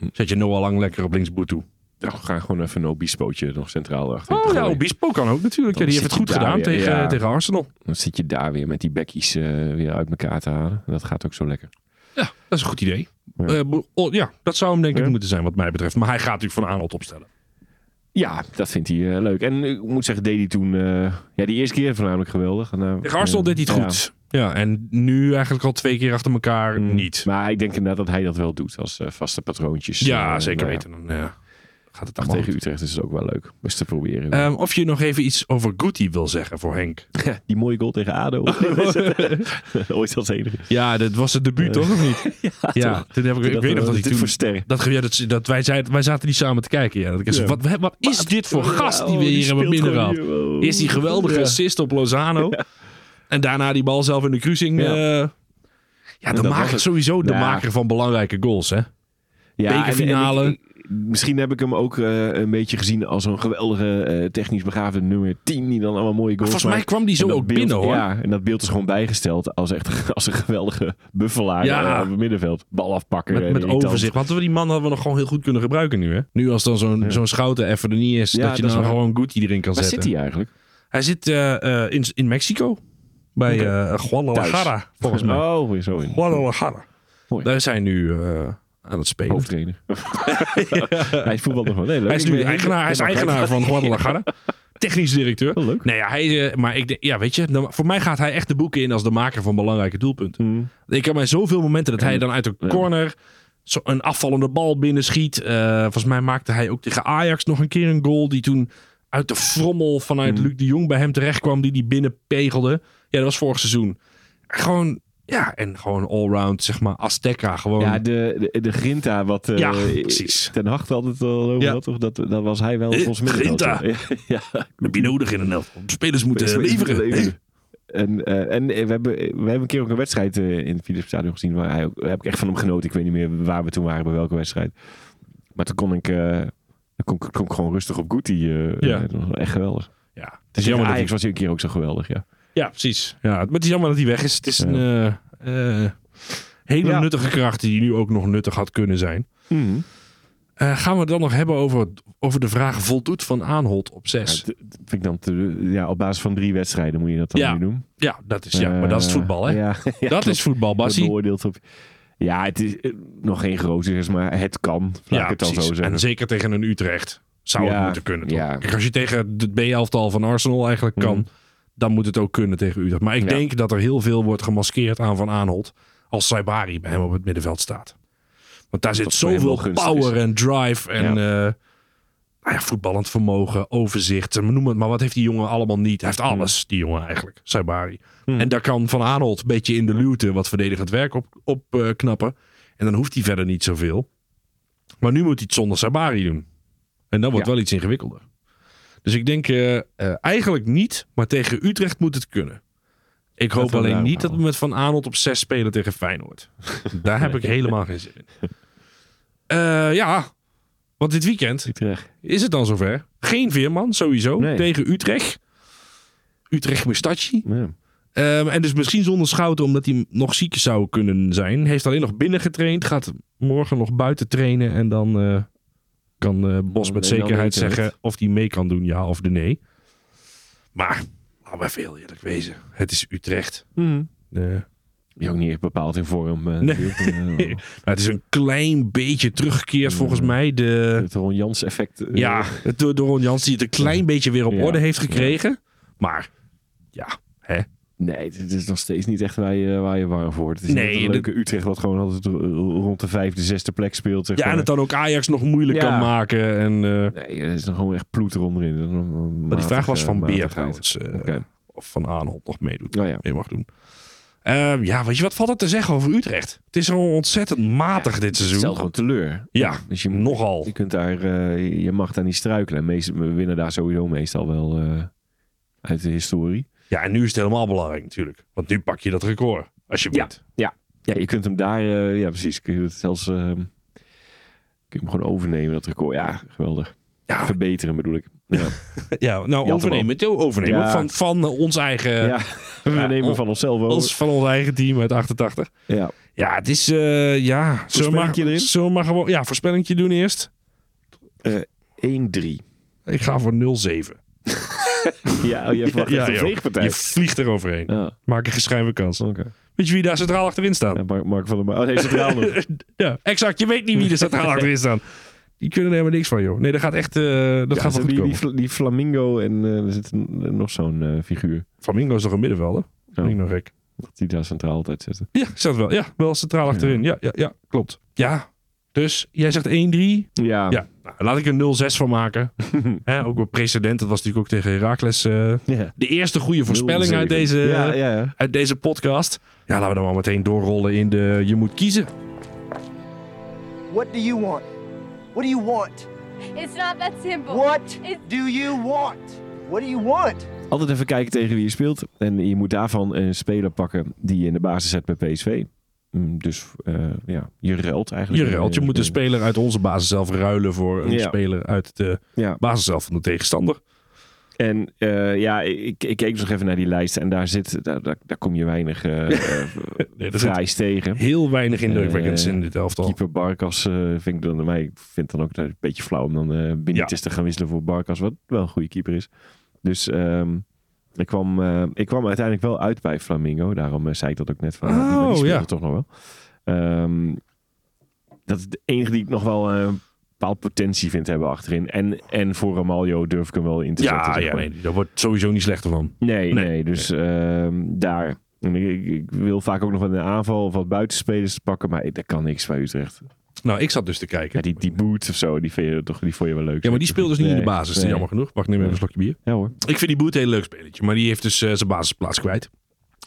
S1: eh, zet je Noah Lang lekker op links toe.
S5: Nou, ga gewoon even een obispootje nog centraal achter.
S1: Oh ja,
S5: gooien.
S1: Obispo kan ook natuurlijk. Ja,
S5: Dan
S1: die heeft het
S5: zit
S1: goed
S5: je daar
S1: gedaan
S5: weer,
S1: tegen,
S5: ja.
S1: tegen Arsenal.
S5: Dan zit je daar weer met die bekkies eh, weer uit elkaar te halen. Dat gaat ook zo lekker.
S1: Ja, dat is een goed idee.
S5: Ja.
S1: Ja, oh, ja dat zou hem denk ik
S5: Ja.
S1: moeten zijn wat mij betreft. Maar hij gaat natuurlijk van Arnold opstellen.
S5: Ja, dat vindt hij eh, leuk. En ik moet zeggen, deed hij toen... eh, ja, die eerste keer voornamelijk geweldig. En, eh,
S1: Tegen Arsenal
S5: eh,
S1: deed hij
S5: ja.
S1: het goed. Ja, en nu eigenlijk al twee keer achter elkaar
S5: Mm.
S1: niet.
S5: Maar ik denk inderdaad dat hij dat wel doet als eh, vaste patroontjes.
S1: Ja,
S5: Eh,
S1: zeker
S5: nou ja.
S1: weten. Dan, ja. gaat het
S5: Ach,
S1: allemaal
S5: tegen Utrecht is het ook wel leuk. Best te proberen.
S1: goed. Ehm, of je nog even iets over Guti wil zeggen voor Henk.
S5: die mooie goal tegen
S1: [LAUGHS]
S5: ADO. [LAUGHS] Ooit als enige.
S1: Ja, dat was het debuut, toch? Of niet? [LAUGHS] ja, toen heb ik, ik weet nog dat ik
S5: dit
S1: toen...
S5: voor sterren.
S1: Dat, ja, dat, dat wij, zeiden, wij zaten niet samen te kijken. Ja. Dat ik zei, wat, wat is dit voor gast oh, die we hier hebben binnengehaald? Eerst die geweldige assist op Lozano. En daarna die bal zelf in de cruising. eh,
S5: Ja.
S1: Ja,
S5: dat
S1: de
S5: was
S1: maker,
S5: het.
S1: sowieso de
S5: Ja.
S1: maker van belangrijke goals. Hè?
S5: en- en
S1: bekerfinale.
S5: ik- ik- misschien heb ik hem ook eh, een beetje gezien als een geweldige, eh, technisch begaafde nummer 10. Die dan allemaal mooie goals
S1: Volgens mij
S5: maakt.
S1: kwam die
S5: En
S1: zo
S5: dat
S1: ook
S5: beeld-
S1: binnen hoor.
S5: Ja, en dat beeld is gewoon bijgesteld als, echt, [LAUGHS] als een geweldige buffelaar
S1: Ja.
S5: eh, op het middenveld. Bal afpakken.
S1: Met,
S5: en
S1: met
S5: irritant.
S1: overzicht. Want we die man hadden we nog gewoon heel goed kunnen gebruiken nu. Hè? Nu als dan zo'n zo'n schouten even er niet is.
S5: Ja,
S1: dat je
S5: dat is
S1: dan
S5: waar.
S1: gewoon Guti erin kan
S5: Waar
S1: zetten.
S5: zit hij eigenlijk?
S1: Hij zit eh, eh, in, in Mexico. Bij
S5: Oké.
S1: eh Guadalajara, volgens mij.
S5: Oh, weer zo in.
S1: Guadalajara.
S5: Mooi.
S1: Daar zijn nu eh, aan het spelen. [LAUGHS]
S5: Hoofdtrainer. Hij is voetbal nog wel. Nee, leuk.
S1: Hij is
S5: Ik
S1: nu
S5: ben-
S1: eigenaar, hij is
S5: Ja, maar-
S1: eigenaar van
S5: [LAUGHS]
S1: Guadalajara. Technisch directeur.
S5: Wel leuk.
S1: Nee, ja, hij, eh, maar ik denk, ja, weet je, dan- voor mij gaat hij echt de boeken in als de maker van belangrijke doelpunten.
S5: Mm.
S1: Ik kan mij zoveel momenten dat hij dan uit een corner zo een afvallende bal binnenschiet. Eh volgens mij maakte hij ook tegen Ajax nog een keer een goal die toen uit de frommel
S5: Mm.
S1: vanuit Luc de Jong bij hem terecht kwam, die die binnenpegelde. Ja, dat was vorig seizoen. En gewoon, ja, en gewoon allround, zeg maar, Azteca. Gewoon,
S5: Ja, de, de, de Grinta, wat eh
S1: Ja, precies.
S5: Ten Hag had het al over
S1: Ja.
S5: had, toch? Dat, dat was hij wel
S1: Eh,
S5: ons middenveld.
S1: Grinta.
S5: Ja,
S1: heb je nodig in een elftal. Spelers
S5: [LAUGHS]
S1: moeten
S5: Spelers moeten
S1: leveren.
S5: leveren. En, eh, en eh, we, hebben, we hebben een keer ook een wedstrijd eh, in het Philips Stadion gezien. Waar, hij ook, daar heb ik echt van hem genoten. Ik weet niet meer waar we toen waren, bij welke wedstrijd. Maar toen kon ik, eh, dan kon, ik- kon ik gewoon rustig op Guti. eh,
S1: Ja.
S5: eh, dat was echt geweldig.
S1: Ja, het is
S5: Dus
S1: jammer dat hij
S5: Ajax was hij een keer ook zo geweldig, ja.
S1: Ja, precies. Ja, maar het is jammer dat hij weg is. Het is een eh, eh, hele
S5: Ja. Mhm.
S1: nuttige kracht die nu ook nog nuttig had kunnen zijn. Eh, gaan we het dan nog hebben over, over de vraag voldoet Van Aanholt op
S5: Ja,
S1: 6?
S5: dat- dat vind ik dan te- ja, op basis van drie wedstrijden moet je dat dan
S1: Ja.
S5: nu doen.
S1: Ja, dat is, ja maar dat is het
S5: Eh,
S1: voetbal, hè?
S5: Ja, ja,
S1: dat is voetbal,
S5: wordt
S1: Bassie.
S5: beoordeeld op. Ja, het is eh, nog geen groot succes, maar het kan. Laat
S1: Ja,
S5: ik het dan zo
S1: precies.
S5: zeggen.
S1: En zeker tegen een Utrecht zou het
S5: Ja,
S1: moeten kunnen. Toch?
S5: ja. Mhm.
S1: Kijk, als je tegen het B-elftal van Arsenal eigenlijk kan, dan moet het ook kunnen tegen Utrecht. Maar ik
S5: Ja.
S1: denk dat er heel veel wordt gemaskeerd aan Van Aanholt als Saibari bij hem op het middenveld staat. Want daar zit
S5: is voor hem wel
S1: zoveel
S5: gunstig
S1: power en drive en
S5: Ja.
S1: eh, nou ja, voetballend vermogen, overzicht, eh, noem het maar. Wat heeft die jongen allemaal niet? Hij heeft
S5: Hmm.
S1: alles, die jongen eigenlijk, Saibari. En daar kan Van Aanholt een beetje in de luwte wat verdedigend werk op, op eh, knappen. En dan hoeft hij verder niet zoveel. Maar nu moet hij het zonder Sabari doen. En dat wordt
S5: Ja.
S1: wel iets ingewikkelder. Dus ik denk eh, eh, eigenlijk niet, maar tegen Utrecht moet het kunnen. Ik hoop
S5: we
S1: alleen
S5: daarop
S1: niet dat we
S5: houden.
S1: met Van Aanholt op 6 spelen tegen
S5: [LAUGHS]
S1: Feyenoord. Daar heb ik helemaal geen zin in. Eh, ja, want dit weekend
S5: Utrecht.
S1: is het dan zover. Geen Veerman, sowieso,
S5: Nee.
S1: tegen Utrecht. Utrecht Mustachi.
S5: Ja.
S1: Ehm, en dus misschien zonder Schouten, omdat hij nog ziek zou kunnen zijn. Heeft alleen nog binnen getraind. Gaat morgen nog buiten trainen. En dan eh, kan eh, Bos met
S5: Dan weet- dan
S1: zekerheid
S5: weten we
S1: zeggen
S5: het.
S1: of hij mee kan doen, ja of de nee. Maar, laten we veel eerlijk wezen. Het is Utrecht. Eh,
S5: Die ook niet echt bepaald in vorm. eh,
S1: Nee.
S5: natuurlijk. Eh,
S1: [LAUGHS] nou, het is een klein beetje teruggekeerd volgens mij. De,
S5: Het Ron Jans effect. eh,
S1: ja, het door door Ron Jans die het een klein beetje weer op
S5: Ja.
S1: orde heeft gekregen. Maar, ja, hè.
S5: Nee, het is nog steeds niet echt waar je, waar je warm voor wordt. Het is
S1: Nee,
S5: net een
S1: dat-
S5: leuke Utrecht wat gewoon altijd r- rond de vijfde, zesde plek speelt. Zeg
S1: Ja, en
S5: maar.
S1: het dan ook Ajax nog moeilijk
S5: Ja.
S1: kan maken. En, eh,
S5: Nee, er is nog gewoon echt ploeter onderin. Dat is een- een
S1: Maar die vraag
S5: matige-
S1: was van Beer
S5: matigheid.
S1: trouwens. eh,
S5: Oké.
S1: Of van Aanholt nog meedoet.
S5: Nou ja.
S1: Mee mag doen. Ehm, ja, weet je wat valt er te zeggen over Utrecht? Het is zo ontzettend matig dit
S5: Het stelt
S1: seizoen.
S5: gewoon teleur.
S1: Ja,
S5: Dus je,
S1: nogal.
S5: je, kunt daar, eh, je mag daar niet struikelen. En meest- we winnen daar sowieso meestal wel eh, uit de historie.
S1: Ja, en nu is het helemaal belangrijk natuurlijk. Want nu pak je dat record. Als je wint.
S5: Ja, je kunt hem daar... eh, ja, precies. Kun je het zelfs... eh, kun je hem gewoon overnemen, dat record. Ja, geweldig.
S1: Ja.
S5: Verbeteren bedoel ik. Ja,
S1: Ja, nou
S5: hem
S1: overnemen. het overnemen.
S5: Ja.
S1: Van, van eh, ons eigen...
S5: ja we
S1: ja,
S5: nemen
S1: on-
S5: van onszelf over.
S1: ons- van ons eigen team uit 88.
S5: Ja.
S1: Ja, het is... eh, ja, zullen we, maar,
S5: Voorspellingje erin?
S1: zullen we maar gewoon... Ja, voorspellingje doen eerst.
S5: 1-3.
S1: Ik ga voor 0-7.
S5: Ja, oh, je verwacht echt een
S1: joh.
S5: veegpartij.
S1: Je vliegt eroverheen.
S5: Ah,
S1: Maak een geschreven kans.
S5: oké.
S1: Weet je wie daar centraal achterin staat?
S5: Ja, Mark, Mark van der Maa. Oh nee, centraal [LAUGHS] nog.
S1: Ja, exact. Je weet niet wie er centraal achterin staan. Die kunnen er helemaal niks van, joh. Nee, dat gaat echt... eh, dat gaat
S5: Ja, ze
S1: wel goed
S5: hebben
S1: komen.
S5: die, die, die flamingo en eh, er zit een- nog zo'n eh, figuur.
S1: Flamingo is toch een middenvelder? Flamingo gek.
S5: Dat die daar centraal altijd zetten.
S1: Ja, staat wel. Ja, wel centraal achterin. Ja, ja, ja klopt. Ja, dus jij zegt 1-3.
S5: Ja,
S1: Ja, nou, laat ik een 0-6 van
S5: [LAUGHS]
S1: maken. Hè, ook wel precedent, dat was natuurlijk ook tegen Heracles. eh,
S5: Ja.
S1: de eerste goede voorspelling uit deze,
S5: Ja, ja, ja.
S1: uit deze podcast. Ja, laten we dan maar meteen doorrollen in de Je moet kiezen.
S7: What do you want? What do you want?
S8: It's not that simple.
S7: What
S8: It's
S7: do you want? What do you want?
S5: Altijd even kijken tegen wie je speelt. En je moet daarvan een speler pakken die je in de basis zet bij PSV. Mm, Dus eh, ja, je ruilt
S1: Je
S5: eigenlijk. Eh,
S1: ruilt. Je moet een
S5: spelen.
S1: speler uit onze basis zelf ruilen voor een
S5: Ja.
S1: speler uit de
S5: Ja.
S1: basis zelf van de tegenstander.
S5: En eh, ja, ik, ik keek nog even naar die lijst. En daar, zit, daar, daar, daar kom je
S1: [LAUGHS]
S5: weinig eh eh,
S1: Nee, dat is
S5: fraais tegen.
S1: heel weinig indrukwekkends
S5: Eh,
S1: in dit elftal.
S5: Keeper Barkas eh, vind ik dan, maar ik vind dan ook dat het een beetje flauw om dan eh Benitez te gaan wisselen voor Barkas, wat wel een goede keeper is. Dus ehm, ik, kwam, eh, ik kwam uiteindelijk wel uit bij Flamingo, daarom eh, zei ik dat ook net van,
S1: Oh,
S5: ah, die- maar die speelde
S1: ja.
S5: toch nog wel. Ehm, dat is de enige die ik nog wel eh, een bepaald potentie vind hebben achterin. En, en voor Ramaljo durf ik hem wel in te zetten.
S1: Ja,
S5: zeg
S1: ja
S5: maar.
S1: nee, daar wordt sowieso niet slechter van.
S5: Nee,
S1: Nee.
S5: nee, dus ehm, daar. En Ik, ik- ik wil vaak ook nog wat in de aanval of wat buitenspelers pakken, maar dat kan niks bij Utrecht.
S1: Nou, ik zat dus te kijken.
S5: Ja, die, die boot of zo, die, vind je, toch, die vond je wel leuk.
S1: Ja, maar die speelt dus niet in de
S5: Nee,
S1: basis.
S5: nee.
S1: Jammer genoeg. Wacht, neem even een slokje bier.
S5: Ja hoor.
S1: Ik vind die Boet een heel leuk spelletje. Maar die heeft dus eh, zijn basisplaats kwijt.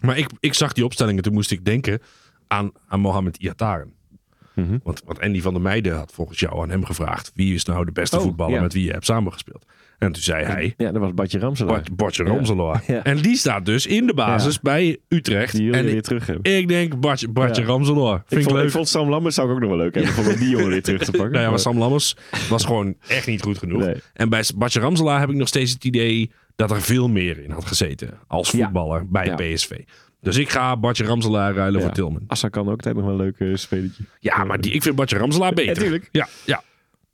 S1: Maar ik, ik zag die opstellingen. Toen moest ik denken aan, aan Mohamed Iataren.
S5: Mhm.
S1: Want, want Andy van der Meijden had volgens jou aan hem gevraagd... wie is nou de beste
S5: Oh,
S1: voetballer
S5: ja.
S1: met wie je hebt samengespeeld? En toen zei hij...
S5: Ja, dat was Badje Ramselaar.
S1: Bart, Bartje Ramselaar.
S5: Ja.
S1: En die staat dus in de basis bij Utrecht.
S5: Die jullie
S1: en
S5: weer
S1: ik,
S5: terug hebben.
S1: ik denk Bartje, Bartje
S5: Ja.
S1: Ramselaar. Vind ik,
S5: vond,
S1: leuk.
S5: vond Sam Lambert zou ik ook nog wel leuk hebben. Vond ik die jongen weer terug te pakken.
S1: [LAUGHS] Nou ja, maar Sam Lammers was gewoon echt niet goed genoeg.
S5: Nee.
S1: En bij Bartje Ramselaar heb ik nog steeds het idee dat er veel meer in had gezeten als
S5: Ja.
S1: voetballer bij
S5: Ja.
S1: PSV. Dus ik ga Bartje Ramselaar ruilen
S5: Ja.
S1: voor Tilman.
S5: Assa kan ook altijd nog wel een leuk eh, spelletje.
S1: Ja, maar die, ik vind Bartje Ramselaar beter.
S5: tuurlijk.
S1: Ja, ja.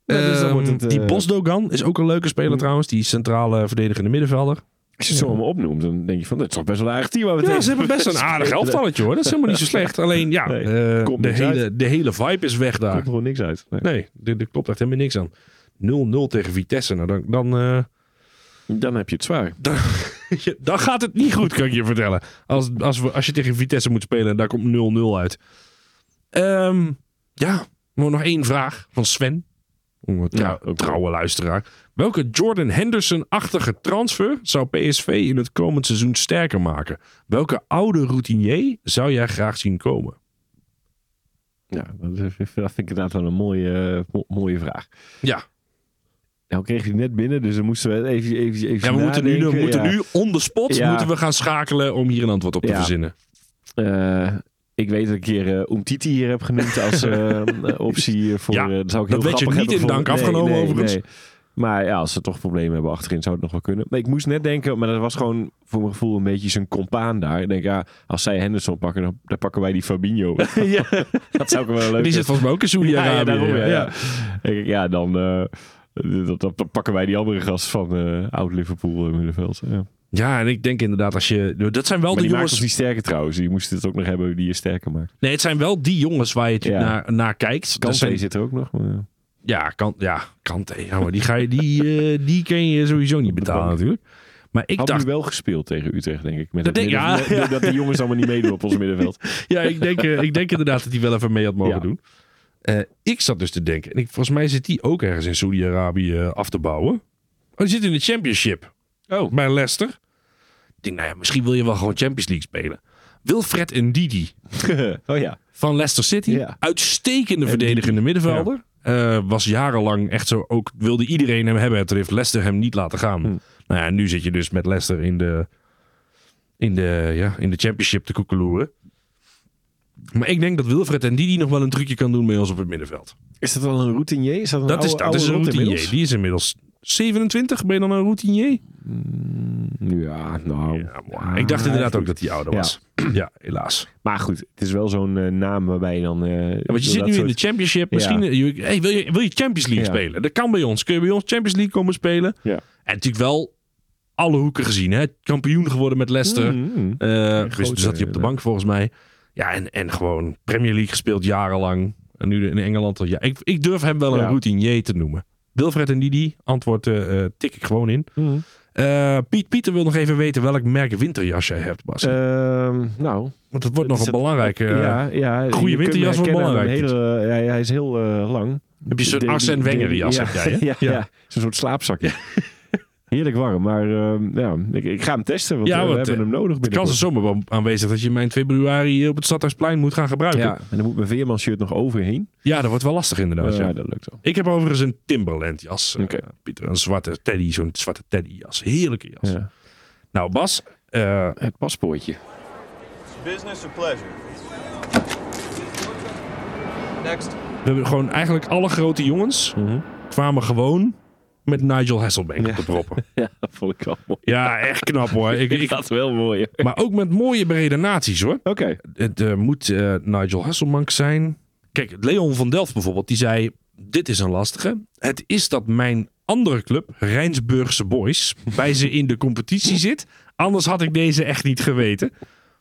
S5: Ja, dus dan
S1: Ehm,
S5: wordt het, eh, Hm.
S1: die Bosdogan is ook een leuke speler trouwens. Die centrale verdedigende middenvelder.
S5: Als je het zo allemaal opnoemt, dan denk je van, dat is toch best wel een aardig team waar we
S1: Ja,
S5: tegen
S1: ze hebben best
S5: [LAUGHS]
S1: een aardig elftalletje hoor. Dat is helemaal niet zo slecht. Alleen ja,
S5: Nee,
S1: eh,
S5: komt
S1: de,
S5: niks
S1: hele, de hele vibe is weg
S5: Daar
S1: daar.
S5: komt gewoon niks uit. Nee.
S1: Nee, er er klopt echt helemaal niks aan. 0-0 tegen Vitesse. Nou, dan, dan eh,
S5: Dan heb je het zwaar.
S1: Je- dan gaat het niet goed, kan ik je vertellen. Als, als, we, als je tegen Vitesse moet spelen en daar komt 0-0 uit. Ehm, ja, maar nog één vraag van Sven. Een trou-
S5: ook wel.
S1: trouwe luisteraar. Welke Jordan Henderson-achtige transfer zou PSV in het komend seizoen sterker maken? Welke oude routinier zou jij graag zien komen?
S5: Ja, dat, is- dat vind ik inderdaad wel een mooie, eh, mo- mooie vraag.
S1: Ja,
S5: Nou, ik kreeg die net binnen, dus dan moesten we even, even, even
S1: ja we moeten, nu, we
S5: nadenken.
S1: moeten
S5: Ja.
S1: nu on the spot
S5: Ja.
S1: moeten we gaan schakelen om hier een antwoord op te
S5: Ja.
S1: verzinnen.
S5: Eh, ik weet dat ik hier eh Umtiti hier heb genoemd
S1: [LAUGHS]
S5: als eh, optie voor...
S1: Ja,
S5: eh, dat zou
S1: dat
S5: ik heel
S1: werd je
S5: grappig
S1: niet
S5: hebben
S1: in
S5: gevonden.
S1: dank afgenomen overigens.
S5: Maar ja, als ze toch problemen hebben achterin, zou het nog wel kunnen. Maar ik moest net denken, maar dat was gewoon voor mijn gevoel een beetje zijn compaan daar. Ik denk, ja, als zij Henderson pakken, dan, dan pakken wij die
S1: [LAUGHS]
S5: Fabinho. [LAUGHS] dat zou ik wel leuk
S1: Die zit volgens mij ook in
S5: ja, ja,
S1: Saudi-Arabië.
S5: daarom, ja,
S1: Ja.
S5: ja. Ik- ja, dan eh, dat, dat pakken wij die andere gast van eh, oud-Liverpool eh, middenveld. Ja.
S1: Ja, en ik denk inderdaad als je... Dat zijn wel
S5: Maar
S1: de
S5: die maakt
S1: jongens...
S5: ons niet sterker trouwens. Die moest het ook nog hebben die je sterker maakt.
S1: Nee, het zijn wel die jongens waar je het
S5: Ja.
S1: naar, naar kijkt. Dat
S5: Kante
S1: zijn-
S5: zit er ook nog. Maar...
S1: ja, kan, ja, Kante. Ja, maar die, ga je, die, eh, die kun je sowieso niet betalen natuurlijk. Maar ik
S5: Had
S1: dacht,
S5: nu wel gespeeld tegen Utrecht, denk ik. Met
S1: Dat
S5: het
S1: denk- ja.
S5: middenveld- Dat die jongens allemaal niet meedoen op ons [LAUGHS] middenveld.
S1: ja, ik, denk, eh, ik denk inderdaad dat hij wel even mee had mogen
S5: Ja.
S1: doen. Eh, ik zat dus te denken, en ik, volgens mij zit die ook ergens in Saudi-Arabië eh, af te bouwen. Oh, die zit in de Championship. Oh. Bij Leicester. Ik denk, nou ja, misschien wil je wel gewoon Champions League spelen. Wilfred Ndidi.
S5: oh ja.
S1: van Leicester City.
S5: Ja.
S1: Uitstekende verdedigende middenvelder. Eh, was jarenlang echt zo. Ook wilde iedereen hem hebben. Toen heeft Leicester hem niet laten gaan.
S5: Hm.
S1: Nou ja, nu zit je dus met Leicester in de, in de, ja, in de championship te koekeloeren. Maar ik denk dat Wilfred en Didi nog wel een trucje kan doen bij ons op het middenveld.
S5: Is dat al een routinier? Is dat een
S1: Dat is,
S5: oude-
S1: dat is een
S5: oude rot
S1: routinier.
S5: inmiddels?
S1: Die is inmiddels 27. Ben je dan een routinier?
S5: Ja, nou.
S1: Ja, maar ik dacht inderdaad ook dat hij ouder
S5: Ja.
S1: was. ja helaas.
S5: Maar goed, het is wel zo'n eh, naam waarbij je dan... eh,
S1: Ja, want je zit
S5: dat
S1: nu in
S5: soort-
S1: de Championship. Misschien eh, je- hey, wil, je, wil je Champions League
S5: Ja.
S1: spelen? Dat kan bij ons. Kun je bij ons Champions League komen spelen?
S5: Ja.
S1: En natuurlijk wel alle hoeken gezien. Hè? Kampioen geworden met Leicester. Eh
S5: Mm, mm.
S1: dus toen zat hij op de
S5: ja. eh,
S1: bank volgens mij. Ja, en, en gewoon Premier League gespeeld jarenlang. En nu in Engeland al. Ja, ik, ik durf hem wel een
S5: Ja.
S1: routinier te noemen. Wilfred en Didi, antwoord eh, eh, tik ik gewoon in.
S5: Mhm.
S1: Eh, Piet, Pieter wil nog even weten welk merk winterjas jij hebt, Bas.
S5: Ehm, nou,
S1: Want dat wordt nog
S5: is
S1: een
S5: dat-
S1: belangrijke... eh,
S5: ja, ja.
S1: goede
S5: je kunt
S1: winterjas
S5: hem
S1: wordt
S5: herkennen aan
S1: belangrijk.
S5: een Hele, ja, hij is heel eh, lang.
S1: Heb je zo'n
S5: De-
S1: Arsène
S5: de-
S1: Wenger jas,
S5: ja,
S1: heb jij, hè?
S5: [LAUGHS] Ja, ja.
S1: Ja.
S5: zo'n soort
S1: [LAUGHS]
S5: slaapzakje. Heerlijk warm, maar ehm, ja, ik, ik ga hem testen, want
S1: Ja,
S5: eh, we
S1: want,
S5: hebben
S1: eh,
S5: hem nodig
S1: De kans is
S5: binnenkort.
S1: zomaar wel aanwezig dat je hem in februari op het Stadhuisplein moet gaan gebruiken.
S5: Ja,
S1: Ja,
S5: en dan moet mijn veermanshirt nog overheen.
S1: dat wordt wel lastig inderdaad.
S5: Eh,
S1: ja.
S5: ja, dat lukt wel.
S1: Ik heb overigens een Timberland jas. eh,
S5: Oké.
S1: Pieter, een zwarte teddy, zo'n zwarte teddyjas. Heerlijke jas.
S5: Ja.
S1: Nou Bas, eh,
S5: Het paspoortje.
S1: we hebben gewoon eigenlijk alle grote jongens kwamen gewoon met Nigel Hasselbank op de proppen.
S5: [LAUGHS] Mhm. Ja, dat vond ik wel mooi.
S1: Ja, echt knap
S5: [LAUGHS]
S1: hoor. Ik,
S5: Ik
S1: ik,
S5: had wel mooi. Oké.
S1: maar ook met mooie beredenaties hoor. Het eh, moet eh, Nigel Hasselbank zijn. Kijk, Leon van Delft bijvoorbeeld, die zei... Dit is een lastige. Het is dat mijn andere club, Rijnsburgse Boys... [LAUGHS] bij ze in de competitie zit. Anders had ik deze echt niet geweten.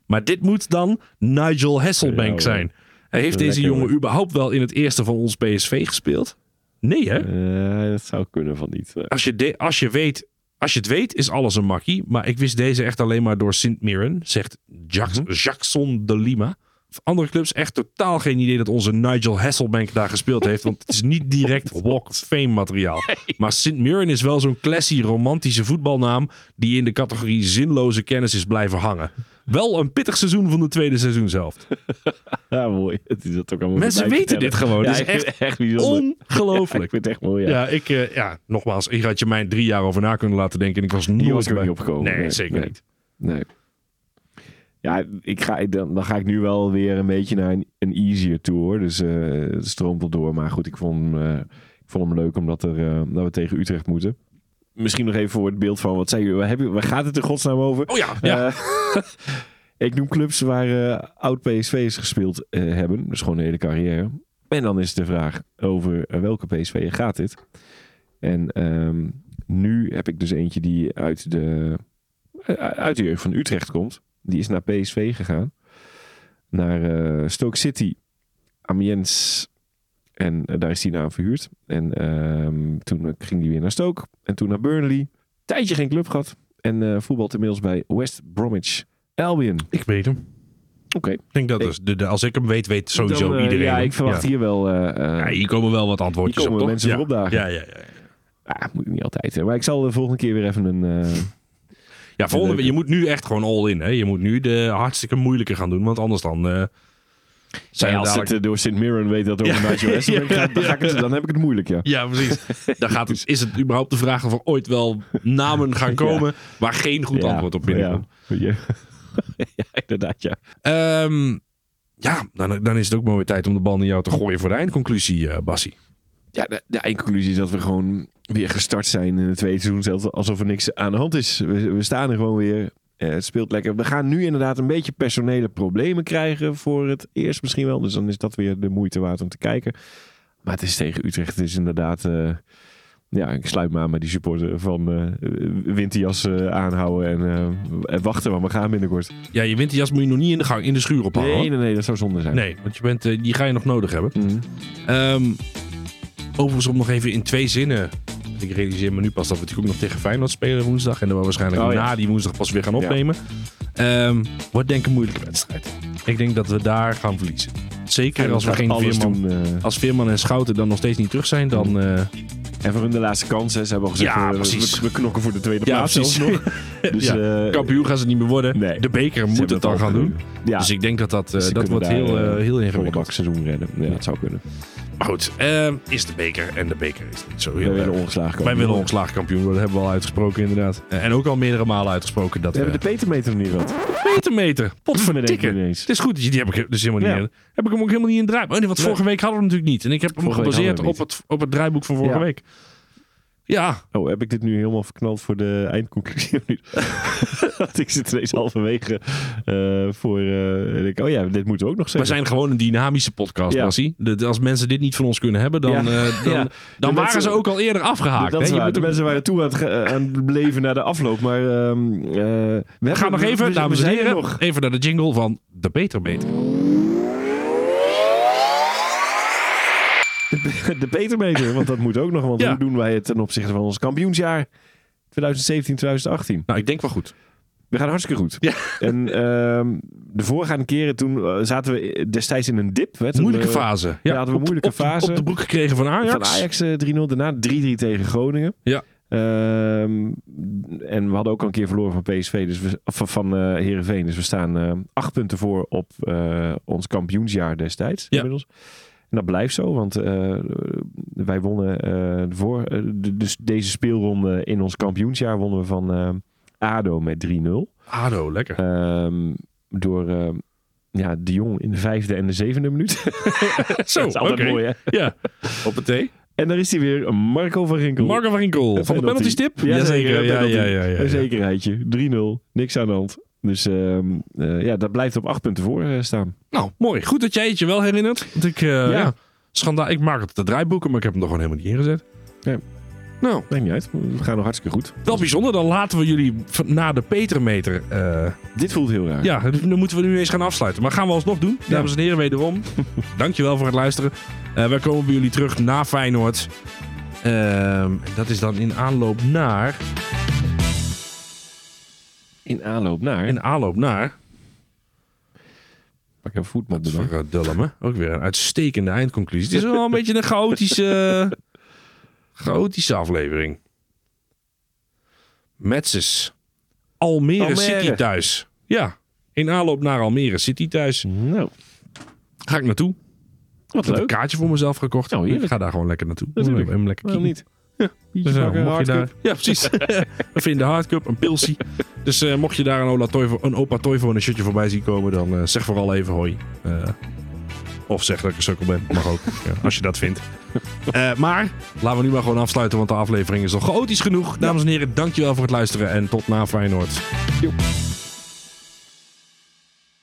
S1: Maar dit moet dan Nigel Hasselbank
S5: Ja, hoor.
S1: zijn. Hij heeft
S5: Lekker,
S1: deze jongen
S5: hoor.
S1: überhaupt wel in het eerste van ons PSV gespeeld? Nee hè?
S5: Eh, dat zou kunnen van niet. eh.
S1: Als je, de- als je weet... Als je het weet, is alles een makkie. Maar ik wist deze echt alleen maar door Sint Mirren, zegt Jax- Jackson de Lima. Andere clubs echt totaal geen idee dat onze Nigel Hasselbank daar gespeeld heeft. Want het is niet direct [LAUGHS] Walk of Fame materiaal. Maar Sint Mirren is wel zo'n classy romantische voetbalnaam die in de categorie zinloze kennis is blijven hangen. Wel een pittig seizoen van de tweede seizoen zelf.
S5: [LAUGHS] Ja, mooi. Het is dat ook allemaal
S1: Mensen
S5: voorbij te
S1: weten dit
S5: tellen.
S1: gewoon.
S5: Ja,
S1: Dit is
S5: ik vind
S1: echt
S5: het bijzonder. Ja, ik
S1: Ongelooflijk.
S5: vind het echt mooi, ja.
S1: [LAUGHS] Ja, ik, eh, ja, nogmaals, ik had je mij drie jaar over na kunnen laten denken. En ik was nooit
S5: was ik ook
S1: bij-
S5: niet opgekomen.
S1: Nee,
S5: Nee,
S1: zeker
S5: nee.
S1: niet.
S5: Nee. Ja, ik ga, dan, dan ga ik nu wel weer een beetje naar een, een easier tour. Dus eh, het stroomt wel door. Maar goed, ik vond hem, eh, ik vond hem leuk omdat er, eh, dat we tegen Utrecht moeten. Misschien nog even voor het beeld van wat zei je, waar, heb je, waar gaat het in godsnaam over?
S1: Oh ja, ja.
S5: Eh, [LAUGHS] ik noem clubs waar eh, oud PSV'ers gespeeld eh, hebben. Dus gewoon de hele carrière. En dan is de vraag over eh, welke PSV'er gaat dit? En ehm, nu heb ik dus eentje die uit de, eh, uit de jeugd van Utrecht komt. Die is naar PSV gegaan. Naar eh, Stoke City, Amiens. En eh, daar is hij naar verhuurd. En ehm, toen eh, ging hij weer naar Stoke. En toen naar Burnley. Tijdje geen club gehad. En eh voetbalt inmiddels bij West Bromwich Albion.
S1: ik weet hem.
S5: Oké.
S1: Ik denk dat dus de, de- als ik hem weet, weet sowieso
S5: Dan, eh,
S1: iedereen.
S5: Ja,
S1: hem.
S5: ik verwacht
S1: Ja.
S5: hier wel... eh, eh,
S1: Ja, hier komen wel wat
S5: hier
S1: antwoordjes
S5: komen
S1: op, toch?
S5: mensen
S1: ja.
S5: voor opdagen.
S1: Ja, ja, ja.
S5: Ah, moet ik niet altijd. Hè. Maar ik zal de volgende keer weer even een... eh,
S1: ja volgende,
S5: Leuke.
S1: je moet nu echt gewoon all in. Hè? Je moet nu de hartstikke moeilijke gaan doen, want anders dan... eh, zijn
S5: Ja,
S1: we
S5: als
S1: dadelijk...
S5: het eh, door Sint Mirren weet dat over
S1: Ja.
S5: Nigel [LAUGHS] Westbrook
S1: Ja.
S5: gaat, dan, ga ik het, dan heb ik het moeilijk, ja.
S1: Ja, precies. [LAUGHS] Dan gaat het, is het überhaupt de vraag of er ooit wel namen gaan komen waar geen goed
S5: Ja,
S1: antwoord op binnenkomt?
S5: Ja, [LAUGHS] ja. Ja, inderdaad, ja.
S1: Ja, Ehm, ja dan, dan is het ook maar weer tijd om de bal naar jou te gooien voor de eindconclusie, eh Bassie.
S5: Ja, de, de eindconclusie is dat we gewoon weer gestart zijn in het tweede seizoen. Zelfs alsof er niks aan de hand is. We, we staan er gewoon weer. Eh, het speelt lekker. We gaan nu inderdaad een beetje personele problemen krijgen voor het eerst misschien wel. Dus dan is dat weer de moeite waard om te kijken. Maar het is tegen Utrecht. Het is inderdaad... eh, ja, ik sluit me aan bij die supporter van eh winterjas eh, aanhouden en, eh, en wachten, want we gaan binnenkort.
S1: Ja, je winterjas moet je nog niet in de gang, in de schuur ophangen. hoor.
S5: Nee, nee, nee, dat zou zonde zijn.
S1: Nee, want je bent, eh, die ga je nog nodig hebben.
S5: Mhm.
S1: Ehm, overigens om nog even in twee zinnen. Ik realiseer me nu pas dat we natuurlijk ook nog tegen Feyenoord spelen woensdag. En dan we waarschijnlijk
S5: Oh, ja.
S1: na die woensdag pas weer gaan
S5: Ja.
S1: opnemen. Ehm wordt denk ik een moeilijke wedstrijd. Ik denk dat we daar gaan verliezen. Zeker als we
S5: Gaat
S1: geen Oh.
S5: alles
S1: Veerman...
S5: doen, eh,
S1: Als Veerman en Schouten dan nog steeds niet terug zijn, dan... eh,
S5: En voor hun de laatste kans, hè. Ze hebben al gezegd,
S1: Ja,
S5: eh, we-
S1: precies.
S5: We, we knokken voor de tweede
S1: ja,
S5: plaats zelfs
S1: precies.
S5: nog.
S1: [LAUGHS]
S5: Dus,
S1: Ja,
S5: eh,
S1: Kampioen gaan ze niet meer worden.
S5: nee.
S1: De beker
S5: ze
S1: moet
S5: hebben
S1: het dan
S5: al
S1: gaan doen.
S5: gedaan. Ja,
S1: Dus ik denk dat dat, eh,
S5: ze
S1: dat
S5: kunnen
S1: wordt
S5: daar,
S1: heel,
S5: eh,
S1: eh, heel
S5: volle bak
S1: ingewikkeld.
S5: seizoen redden. Ja, dat zou kunnen.
S1: Maar goed, ehm, is de beker. En de beker is niet zo
S5: We
S1: heel erg.
S5: willen ongeslagen komen.
S1: Wij willen ongeslagen kampioen worden, hebben we al uitgesproken inderdaad. Eh, En ook al meerdere malen uitgesproken dat eh,
S5: We
S1: we...
S5: hebben de petermeter nog niet gehad.
S1: Petermeter, potverdikke.
S5: Bedenk ik ineens.
S1: Het is goed, dat je- die heb ik dus helemaal niet
S5: Ja.
S1: in. Heb ik hem ook helemaal niet in het draaiboek. Oh nee, want vorige week hadden we hem natuurlijk niet. En ik heb hem
S5: Vorige week
S1: gebaseerd
S5: hadden
S1: op
S5: we hem
S1: het, op het draaiboek van vorige
S5: Ja.
S1: week. Ja,
S5: Oh, heb ik dit nu helemaal verknald voor de eindconclusie? [LAUGHS] of niet? Want ik zit ineens halverwege eh, voor... eh, en ik, oh ja, dit moeten we ook nog
S1: we
S5: zeggen.
S1: zijn gewoon een dynamische podcast,
S5: Ja.
S1: Bassie. Dat- Als mensen dit niet van ons kunnen hebben, dan, [LAUGHS]
S5: Ja.
S1: eh, dan,
S5: Ja.
S1: dan
S5: De
S1: waren
S5: mensen-
S1: ze ook al eerder afgehaakt.
S5: dat is
S1: hè? Je
S5: waar.
S1: moet
S5: De
S1: ook-
S5: mensen waren toe aan het, ge- eh, aan het beleven na de afloop. Maar ehm, eh, we
S1: We gaan nog even, dames en heren, even naar de jingle van De Petermeter.
S5: [LAUGHS] De Petermeter, want dat moet ook nog. Want
S1: Ja.
S5: hoe doen wij het ten opzichte van ons kampioensjaar? 2017, 2018.
S1: Nou, ik denk wel goed.
S5: We gaan hartstikke goed.
S1: Ja.
S5: En ehm, de voorgaande keren toen eh, zaten we destijds in een dip. Hè, toen
S1: Moeilijke
S5: we-
S1: fase. Ja,
S5: hadden we
S1: op-
S5: moeilijke
S1: op de-
S5: fase.
S1: Op de broek gekregen van Ajax.
S5: Van Ajax eh, 3-0, daarna 3-3 tegen Groningen.
S1: Ja.
S5: Ehm, en we hadden ook al een keer verloren van PSV, dus we, of van, van eh, Heerenveen. Dus we staan eh, acht punten voor op eh, ons kampioensjaar destijds.
S1: Ja.
S5: Inmiddels. En dat blijft zo, want eh, wij wonnen eh, voor, eh, de- dus deze speelronde in ons kampioensjaar wonnen we van eh, ADO met 3-0.
S1: Ado, lekker.
S5: Ehm, door ehm, ja, de Jong in de vijfde en de zevende minuut. [LAUGHS]
S1: Zo,
S5: dat is altijd
S1: Oh, oké.
S5: mooi hè.
S1: Ja, op het thee.
S5: En daar is hij weer, Marco van Rinkel.
S1: Marco van Rinkel. Van de penalty stip?
S5: Jazeker,
S1: Ja,
S5: penalty.
S1: ja, ja, ja,
S5: Een
S1: ja.
S5: zekerheidje. 3-0. Niks aan de hand. Dus ehm, eh, ja, dat blijft op acht punten voor eh, staan.
S1: Nou, mooi. Goed dat jij het je wel herinnert. Want ik, eh, ja. Schandaal. Ik maak het de draaiboeken, maar ik heb hem er gewoon helemaal niet ingezet.
S5: Ja.
S1: Nou,
S5: Maakt niet uit. We gaan nog hartstikke goed.
S1: wel bijzonder. Dan laten we jullie v- na de Petermeter. eh,
S5: Dit voelt heel raar.
S1: ja, dan moeten we nu eens gaan afsluiten. Maar gaan we alsnog doen. Dames en heren, wederom. Dankjewel voor het luisteren. Eh, wij komen bij jullie terug na Feyenoord. Ehm, dat is dan in aanloop naar...
S5: In aanloop naar...
S1: In aanloop naar...
S5: Pak even voetmat erbij.
S1: Verdulleme. Ook weer een uitstekende eindconclusie. Het is wel een beetje een chaotische, eh, chaotische aflevering. Metses. Almere,
S5: Almere.
S1: City thuis. Ja, in aanloop naar Almere City thuis.
S5: Nou,
S1: Ga ik naartoe.
S5: wat
S1: Ik heb een
S5: leuk.
S1: kaartje voor mezelf gekocht.
S5: Oh, heerlijk.
S1: ik ga daar gewoon lekker naartoe.
S5: Natuurlijk.
S1: Ik heb Hem lekker
S5: Waarom
S1: kieken.
S5: niet? Biertje
S1: Dus, ja,
S5: pakken,
S1: mocht je daar- [LAUGHS]
S5: hardcup.
S1: Ja,
S5: [LAUGHS]
S1: precies. Even in de hardcup, een pilsie. Dus eh, mocht je daar een, Ola Toivo, een opa Toivo en een shirtje voorbij zien komen, dan eh, zeg vooral even hoi. Eh, of zeg dat ik een sukkel ben. Mag ook, ja, als je dat
S5: [LAUGHS]
S1: vindt. Eh, maar laten we nu maar gewoon afsluiten, want de aflevering is al chaotisch genoeg. Dames en heren, dankjewel voor het luisteren en tot na Feyenoord.